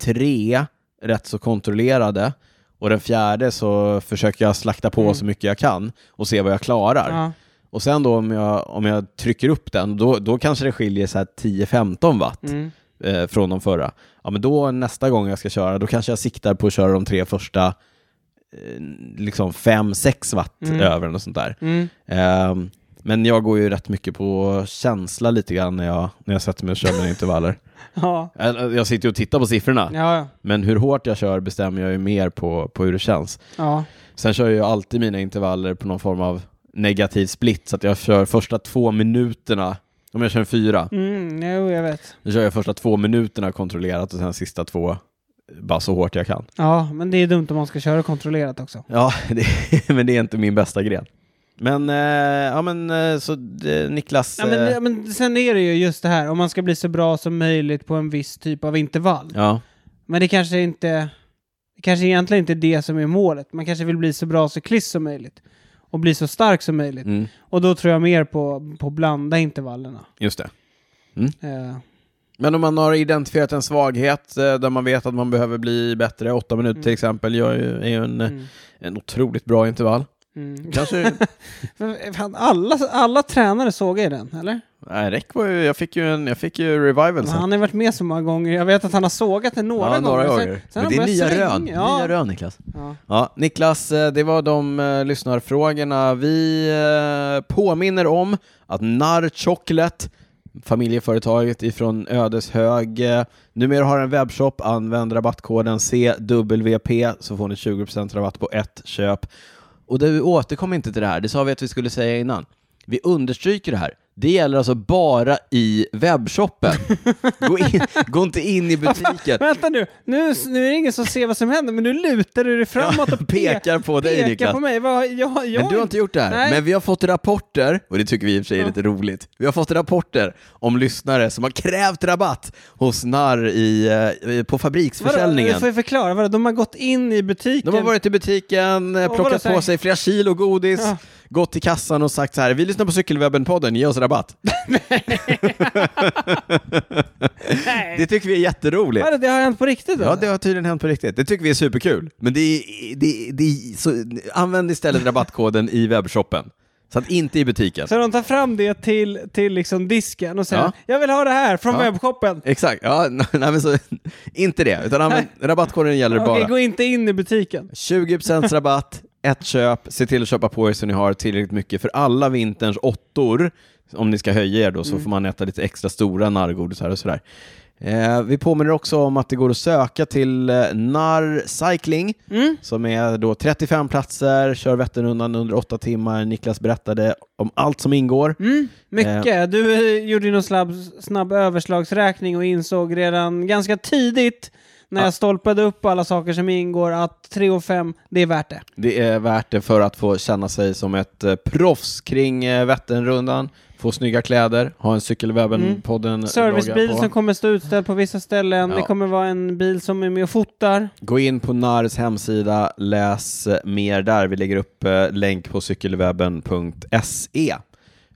tre rätt så kontrollerade och den fjärde så försöker jag slakta på Mm. så mycket jag kan och se vad jag klarar. Ja. Och sen då om jag, om jag trycker upp den, då, då kanske det skiljer så här 10-15 watt Mm. eh, från de förra. Ja, men då nästa gång jag ska köra, då kanske jag siktar på att köra de tre första eh, liksom 5-6 watt Mm. över och sånt där. Mm. Ehm, men jag går ju rätt mycket på känsla lite grann när jag, när jag sätter mig och kör mina intervaller. Ja. Eller, Jag sitter ju och tittar på siffrorna, Ja. men hur hårt jag kör bestämmer jag ju mer på, på hur det känns. Ja. Sen kör jag ju alltid mina intervaller på någon form av negativ split, så att jag kör första två minuterna, om jag kör en fyra, Mm. Jo, jag vet. då kör jag första två minuterna kontrollerat och sen sista två eh, bara så hårt jag kan. Ja, men det är dumt om man ska köra kontrollerat också. Ja, det, men det är inte min bästa gren. Men, eh, ja men eh, så eh, Niklas... Ja, men, eh, ja, men sen är det ju just det här, om man ska bli så bra som möjligt på en viss typ av intervall. ja. Men det kanske inte... Det kanske egentligen inte är det som är målet. Man kanske vill bli så bra cyklist som möjligt. Och bli så stark som möjligt. Mm, Och då tror jag mer på, på blanda intervallerna. just det. Eh, Men om man har identifierat en svaghet eh, där man vet att man behöver bli bättre, åtta minuter till exempel, gör ju, är ju en, eh, mm, en otroligt bra intervall. mm. Kanske, Men Fan, alla, alla tränare såg i den, eller? nej Räck var ju, jag fick ju en, jag fick ju revival sen. Han har ju varit med så många gånger. Jag vet att han har sågat den några, ja, några gånger. gånger. Sen- sen har Men han det är börjat nya svänga. rön. Ja. nya rön Niklas. Ja. Ja, Niklas, eh, det var de eh, lyssnarfrågorna. Vi eh, påminner om att Narr Chocolate, familjeföretaget ifrån Ödeshög, eh, numera har en webbshop. Använd rabattkoden CWP så får ni 20% rabatt på ett köp. Och du återkom inte till det här, det sa vi att vi skulle säga innan. Vi understryker det här. Det gäller alltså bara i webbshoppen. Gå, in, gå inte in i butiken. Vänta nu. nu, nu är det ingen som ser vad som händer, men nu lutar du dig framåt och pekar, Pekar på dig pekar Niklas. på mig. Vad, jag, jag, Men du har inte gjort det här. Nej. Men vi har fått rapporter, och det tycker vi i och för sig är Ja. lite roligt. Vi har fått rapporter om lyssnare som har krävt rabatt hos Narr i, eh, på Vadå, fabriksförsäljningen. du får ju förklara, vadå, de har gått in i butiken? De har varit i butiken, eh, Och vadå, plockat så här- på sig flera kilo godis, Ja. gått till kassan och sagt så här, vi lyssnar på Cykelwebben-podden, ge oss rabatt. Nej. Det tycker vi är jätteroligt. Vadå, det har hänt på riktigt? Ja, eller? det har tydligen hänt på riktigt. Det tycker vi är superkul. Men det är, det, det är, så, använd istället rabattkoden i webbshoppen. Så att inte i butiken. Så de tar fram det till, till liksom disken och säger Ja. jag vill ha det här från Ja. webbshoppen. Exakt, ja, nej men så, inte det, utan använd, rabattkoden gäller Okej, bara. gå inte in i butiken. 20% rabatt, ett köp, se till att köpa på er så ni har tillräckligt mycket för alla vinterns åttor. Om ni ska höja er då så Mm. får man äta lite extra stora narrgodisar och sådär. Eh, vi påminner också om att det går att söka till eh, Narr Cycling Mm. som är då 35 platser, kör Vätternrundan under 8 timmar. Niklas berättade om allt som ingår. Mm, Mycket. Du eh, gjorde ju någon snabb, snabb överslagsräkning och insåg redan ganska tidigt när jag stolpade upp alla saker som ingår att 3 och 5, det är värt det. Det är värt det för att få känna sig som ett eh, proffs kring eh, Vätternrundan, få snygga kläder, ha en Cykelwebben-podden Mm. Servicebil logga på. som kommer stå utställd på vissa ställen. Ja. Det kommer vara en bil som är med och fotar. Gå in på NARS hemsida, läs eh, mer där. Vi lägger upp eh, länk på cykelwebben.se.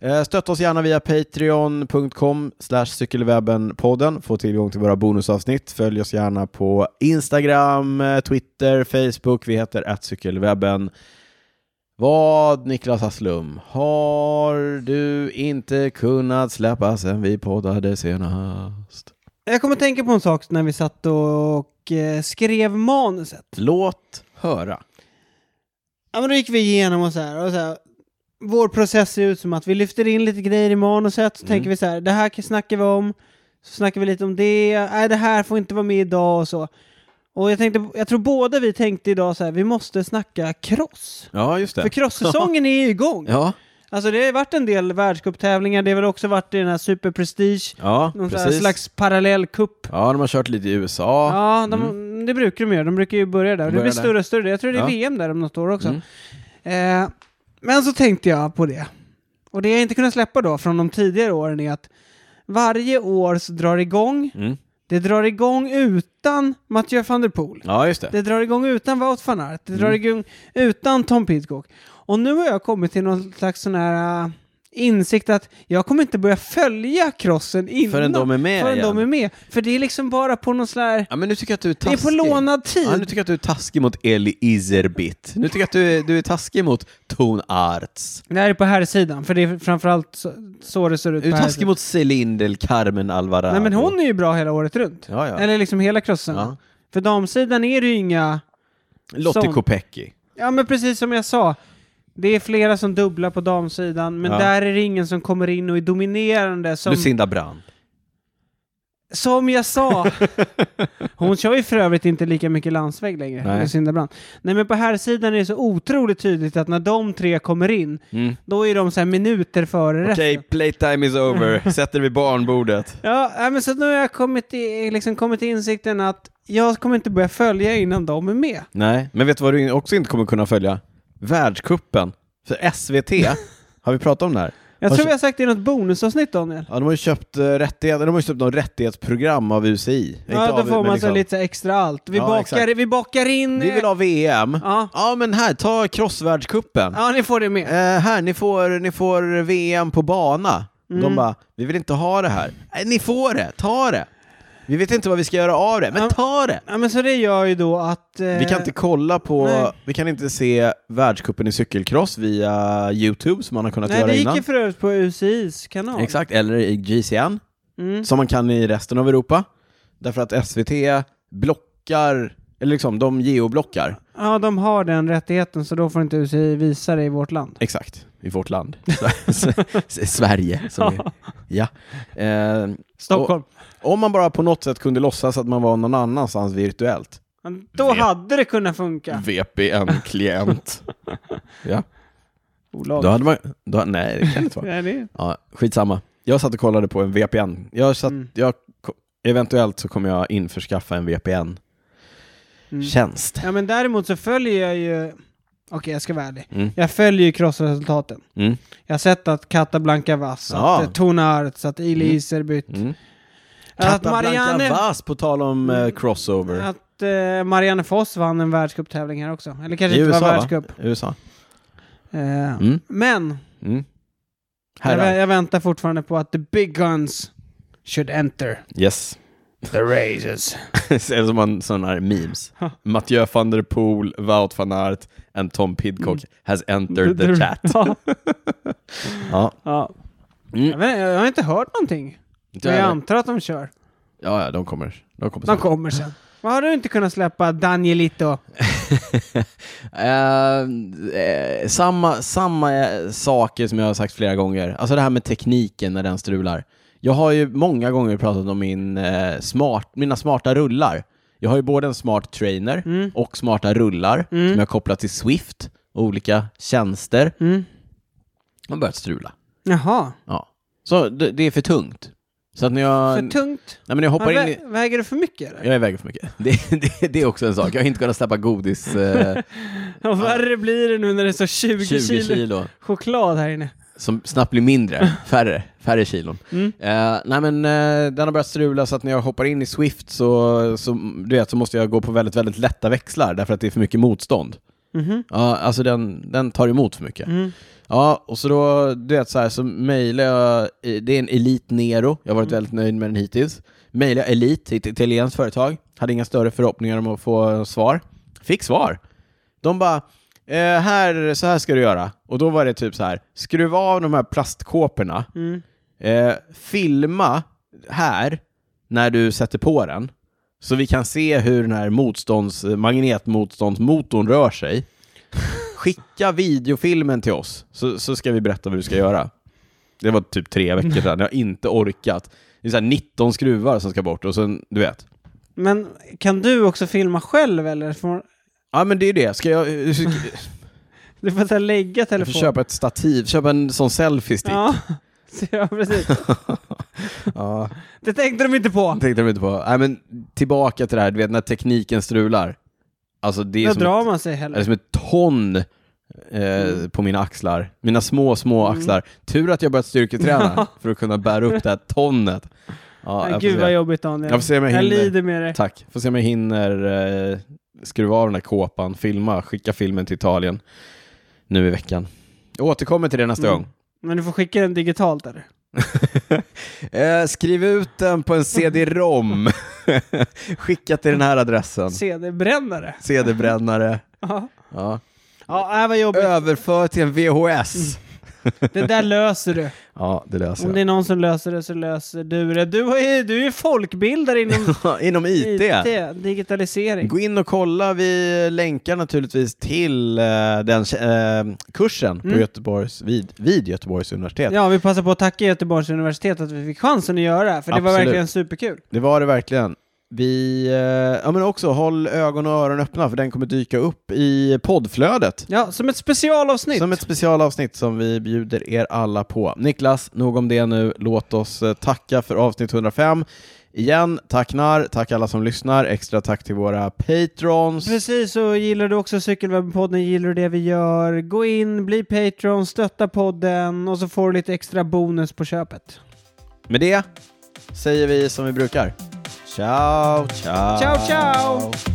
Eh, Stötta oss gärna via patreon.com slash cykelwebbenpodden. Få tillgång till våra bonusavsnitt. Följ oss gärna på Instagram, eh, Twitter, Facebook. Vi heter att cykelwebben. Vad, Niklas Hasslum, har du inte kunnat släppa sen vi poddade senast? Jag kommer att tänka på en sak när vi satt och eh, skrev manuset. Låt höra. Ja, men då gick vi igenom och så här. Och så här vår process ser ut som att vi lyfter in lite grejer i manuset, Mm. så tänker vi så här, det här snackar vi om, så snackar vi lite om det, nej det här får inte vara med idag och så. Och jag tänkte, jag tror båda vi tänkte idag så här, vi måste snacka cross. Ja, just det. För cross-säsongen är ju igång. Ja, Alltså det har ju varit en del världscuptävlingar, det har väl också varit i den här Super Prestige, ja någon så här precis. slags parallellcup. Ja, de har kört lite i USA. Ja, de, det brukar de göra. De brukar ju börja där. börjar det blir Mm. där. större och större. Jag tror det är Ja. Mm. VM där om något år också. Eh, men så tänkte jag på det. Och det jag inte kunnat släppa då från de tidigare åren är att varje år så drar det igång. Mm. Det drar igång utan Mathieu van der Poel. Ja, just det. Det drar igång utan Wout van Aert. Det Mm. drar igång utan Tom Pidcock. Och nu har jag kommit till någon slags sån här äh, insikt att jag kommer inte börja följa crossen innan. Förrän de är med Förrän igen. de är med. För det är liksom bara på någon sån här... Ja, men nu tycker jag att du är Det är taskig. på lånad tid. Ja, nu tycker jag att du är taskig mot Eli Izerbit. Nu tycker jag att du är, du är taskig mot Tone Arts. Det här är på här sidan för det är framförallt så, så det ser ut. Du är på här taskig sidan. mot Celine del Carmen Alvarado. Nej men hon är ju bra hela året runt. Ja, ja. Eller liksom hela crossen. Ja. För damsidan är det ju inga... Lottie sån. Kopecky. Ja men precis som jag sa. Det är flera som dubblar på damsidan, men Ja. där är det ingen som kommer in och är dominerande som, Lucinda Brand. som jag sa. Hon kör ju för övrigt inte lika mycket landsväg längre, Nej. Lucinda Brand. Nej men på här sidan är det så otroligt tydligt att när de tre kommer in, Mm. då är de så här minuter före resten. Okej, playtime is over. Sätter vi barnbordet. Ja, nej, men så nu har jag kommit, i, liksom kommit till insikten att jag kommer inte börja följa innan de är med. Nej, men vet du vad du också inte kommer kunna följa? Världskuppen För SVT, har vi pratat om det här? Jag Har tror kö- vi har sagt det i något bonusavsnitt, Daniel. Ja, de har ju köpt, eh, rättigheter, de har ju köpt någon rättighetsprogram av UCI. Inte Ja, av- då får men man så liksom- lite extra allt. Vi, Ja, bakar, exakt. vi bakar in... Vi vill ha VM. Ja. ja men här, ta crossvärldscupen. Ja, ni får det med. Eh, här, ni får, ni får VM på bana. Mm. De bara, vi vill inte ha det här. Nej, ni får det, ta det. Vi vet inte vad vi ska göra av det, men Ja. ta det. Ja, men så det gör ju då att... eh, Vi kan inte kolla på, nej. vi kan inte se världscupen i cykelcross via YouTube som man har kunnat Nej, göra det gick innan. ju för övrigt på UCIs kanal. Exakt, eller i GCN, Mm. som man kan i resten av Europa. Därför att SVT blockar, eller liksom, de geoblockar. Ja, de har den rättigheten, så då får inte UCI visa det i vårt land. Exakt, i vårt land. S- S- Sverige. Som är. Ja. Eh, Stockholm. om man bara på något sätt kunde låtsas att man var någon annanstans virtuellt. Ja, Då Vet. hade det kunnat funka. VPN-klient. ja. Då Olagligt. hade man... Då, nej, det kan det inte vara. Ja, det... Ja, skitsamma. Jag satt och kollade på en VPN. Jag satt, Mm. jag, ko- eventuellt så kommer jag införskaffa en Mm. VPN-tjänst. Ja men däremot så följer jag ju... Okej, jag ska vara ärlig. Mm. Jag följer ju crossresultaten. Mm. Jag har sett att Katablanca Vass, Ja. att eh, Tone Arts, att Ili Iserbyt, Mm. att Marianne... Marianne... Mm. Vas, på tal om eh, crossover. Att eh, Marianne Foss vann en världscuptävling här också. Eller kanske I inte USA, var va? världscup. USA. Eh, Mm. Men Mm. jag, vä- Herrar. jag väntar fortfarande på att the big guns should enter Yes. the races. Eller som man sådana här memes. Mathieu van der Poel, Wout van Aert and Tom Pidcock Mm. has entered the chat. Ja, Ja, ja. Mm. Jag, vet, jag har inte hört någonting. Men jag ja, antar att de kör. ja de kommer. De kommer De snart. kommer sen. Vad har du inte kunnat släppa Danielito? Eh, eh, samma, samma eh, saker som jag har sagt flera gånger. Alltså det här med tekniken när den strular. Jag har ju många gånger pratat om min, eh, smart, mina smarta rullar. Jag har ju både en smart trainer Mm. och smarta rullar som jag kopplat till Swift och olika tjänster. Mm. De har börjat strula. Jaha, Ja. Så det, det är för tungt. Så att när jag, för tungt. nej, men jag hoppar Men in vä- i... Väger du för mycket eller? Jag är iväg för mycket. Det, det, det är också en sak. Jag har inte kunnat släppa godis eh, Och värre blir det nu när det står 20, 20 kilo kilo. choklad här inne. som snabbt blir mindre, färre, färre kilon. Eh, nej men eh, den har börjat strula så att när jag hoppar in i Swift så, så, du vet, så måste jag gå på väldigt, väldigt lätta växlar därför att det är för mycket motstånd. Mhm. Ja, alltså den, den tar emot för mycket. Mm. Ja, och så då, du vet så här, så mejlar jag, eh, det är en Elite Nero, jag har varit väldigt nöjd med den hittills. Mejlar jag Elite till ett italienskt företag, hade inga större förhoppningar om att få svar. Fick svar. De bara, eh, här, så här ska du göra. Och då var det typ så här, skruva av de här plastkåporna, Mm. eh, filma här när du sätter på den, så vi kan se hur den här motstånds, magnetmotståndsmotorn rör sig. Skicka videofilmen till oss, så, så ska vi berätta vad du ska göra. Det var typ tre veckor sedan, jag har inte orkat. Det är så här 19 skruvar som ska bort och sen, du vet. Men kan du också filma själv eller? Får- Ja men det är det, ska jag... Du får så här lägga Jag får telefonen. köpa ett stativ, köpa en sån selfie-stick. Ja, så ja, precis. Ja. Det tänkte de inte på. Tänkte de inte på. Nej men tillbaka till det här, du vet när tekniken strular. Alltså det är Då som ett, Alltså, drar Mm. man sig det är heller. som ett ton eh, på mina axlar. Mina små, små Mm. axlar. Tur att jag börjat styrketräna för att kunna bära upp det här tonnet. Ja, Nej, jag får Gud se. vad jobbigt Daniel. Jag får se om jag hinner. lider med dig. Tack. Får se om jag hinner eh, skruva av den här kåpan, filma, skicka filmen till Italien nu i veckan. Jag återkommer till det nästa Mm. gång. Men du får skicka den digitalt eller? Eh, skriv ut den på en CD-ROM. Skicka till den här adressen. CD-brännare. CD-brännare. Ja, Ja. ja nej, vad jobbigt. Överför till en VHS. Det där löser du. Ja, det löser Mm. Om det är någon som löser det så löser du det. Du är ju du är folkbildare inom jag. Inom IT. IT, digitalisering. Gå in och kolla. Vi länkar naturligtvis till eh, den eh, kursen på Göteborgs, vid, vid Göteborgs universitet. Mm. Ja, vi passar på att tacka Göteborgs universitet att vi fick chansen att göra det här, för det var Absolut. verkligen superkul. Det var det verkligen. Vi, eh, ja men också håll ögon och öron öppna för den kommer dyka upp i poddflödet. Ja, som ett specialavsnitt. Som ett specialavsnitt som vi bjuder er alla på. Niklas, nog om det nu. Låt oss eh, tacka för avsnitt 105. Igen, tack NAR, tack alla som lyssnar. Extra tack till våra patrons. Precis, och gillar du också Cykelwebben-podden, gillar du det vi gör, gå in, bli Patreon, stötta podden och så får du lite extra bonus på köpet. Med det säger vi som vi brukar. Ciao, ciao. Ciao, ciao.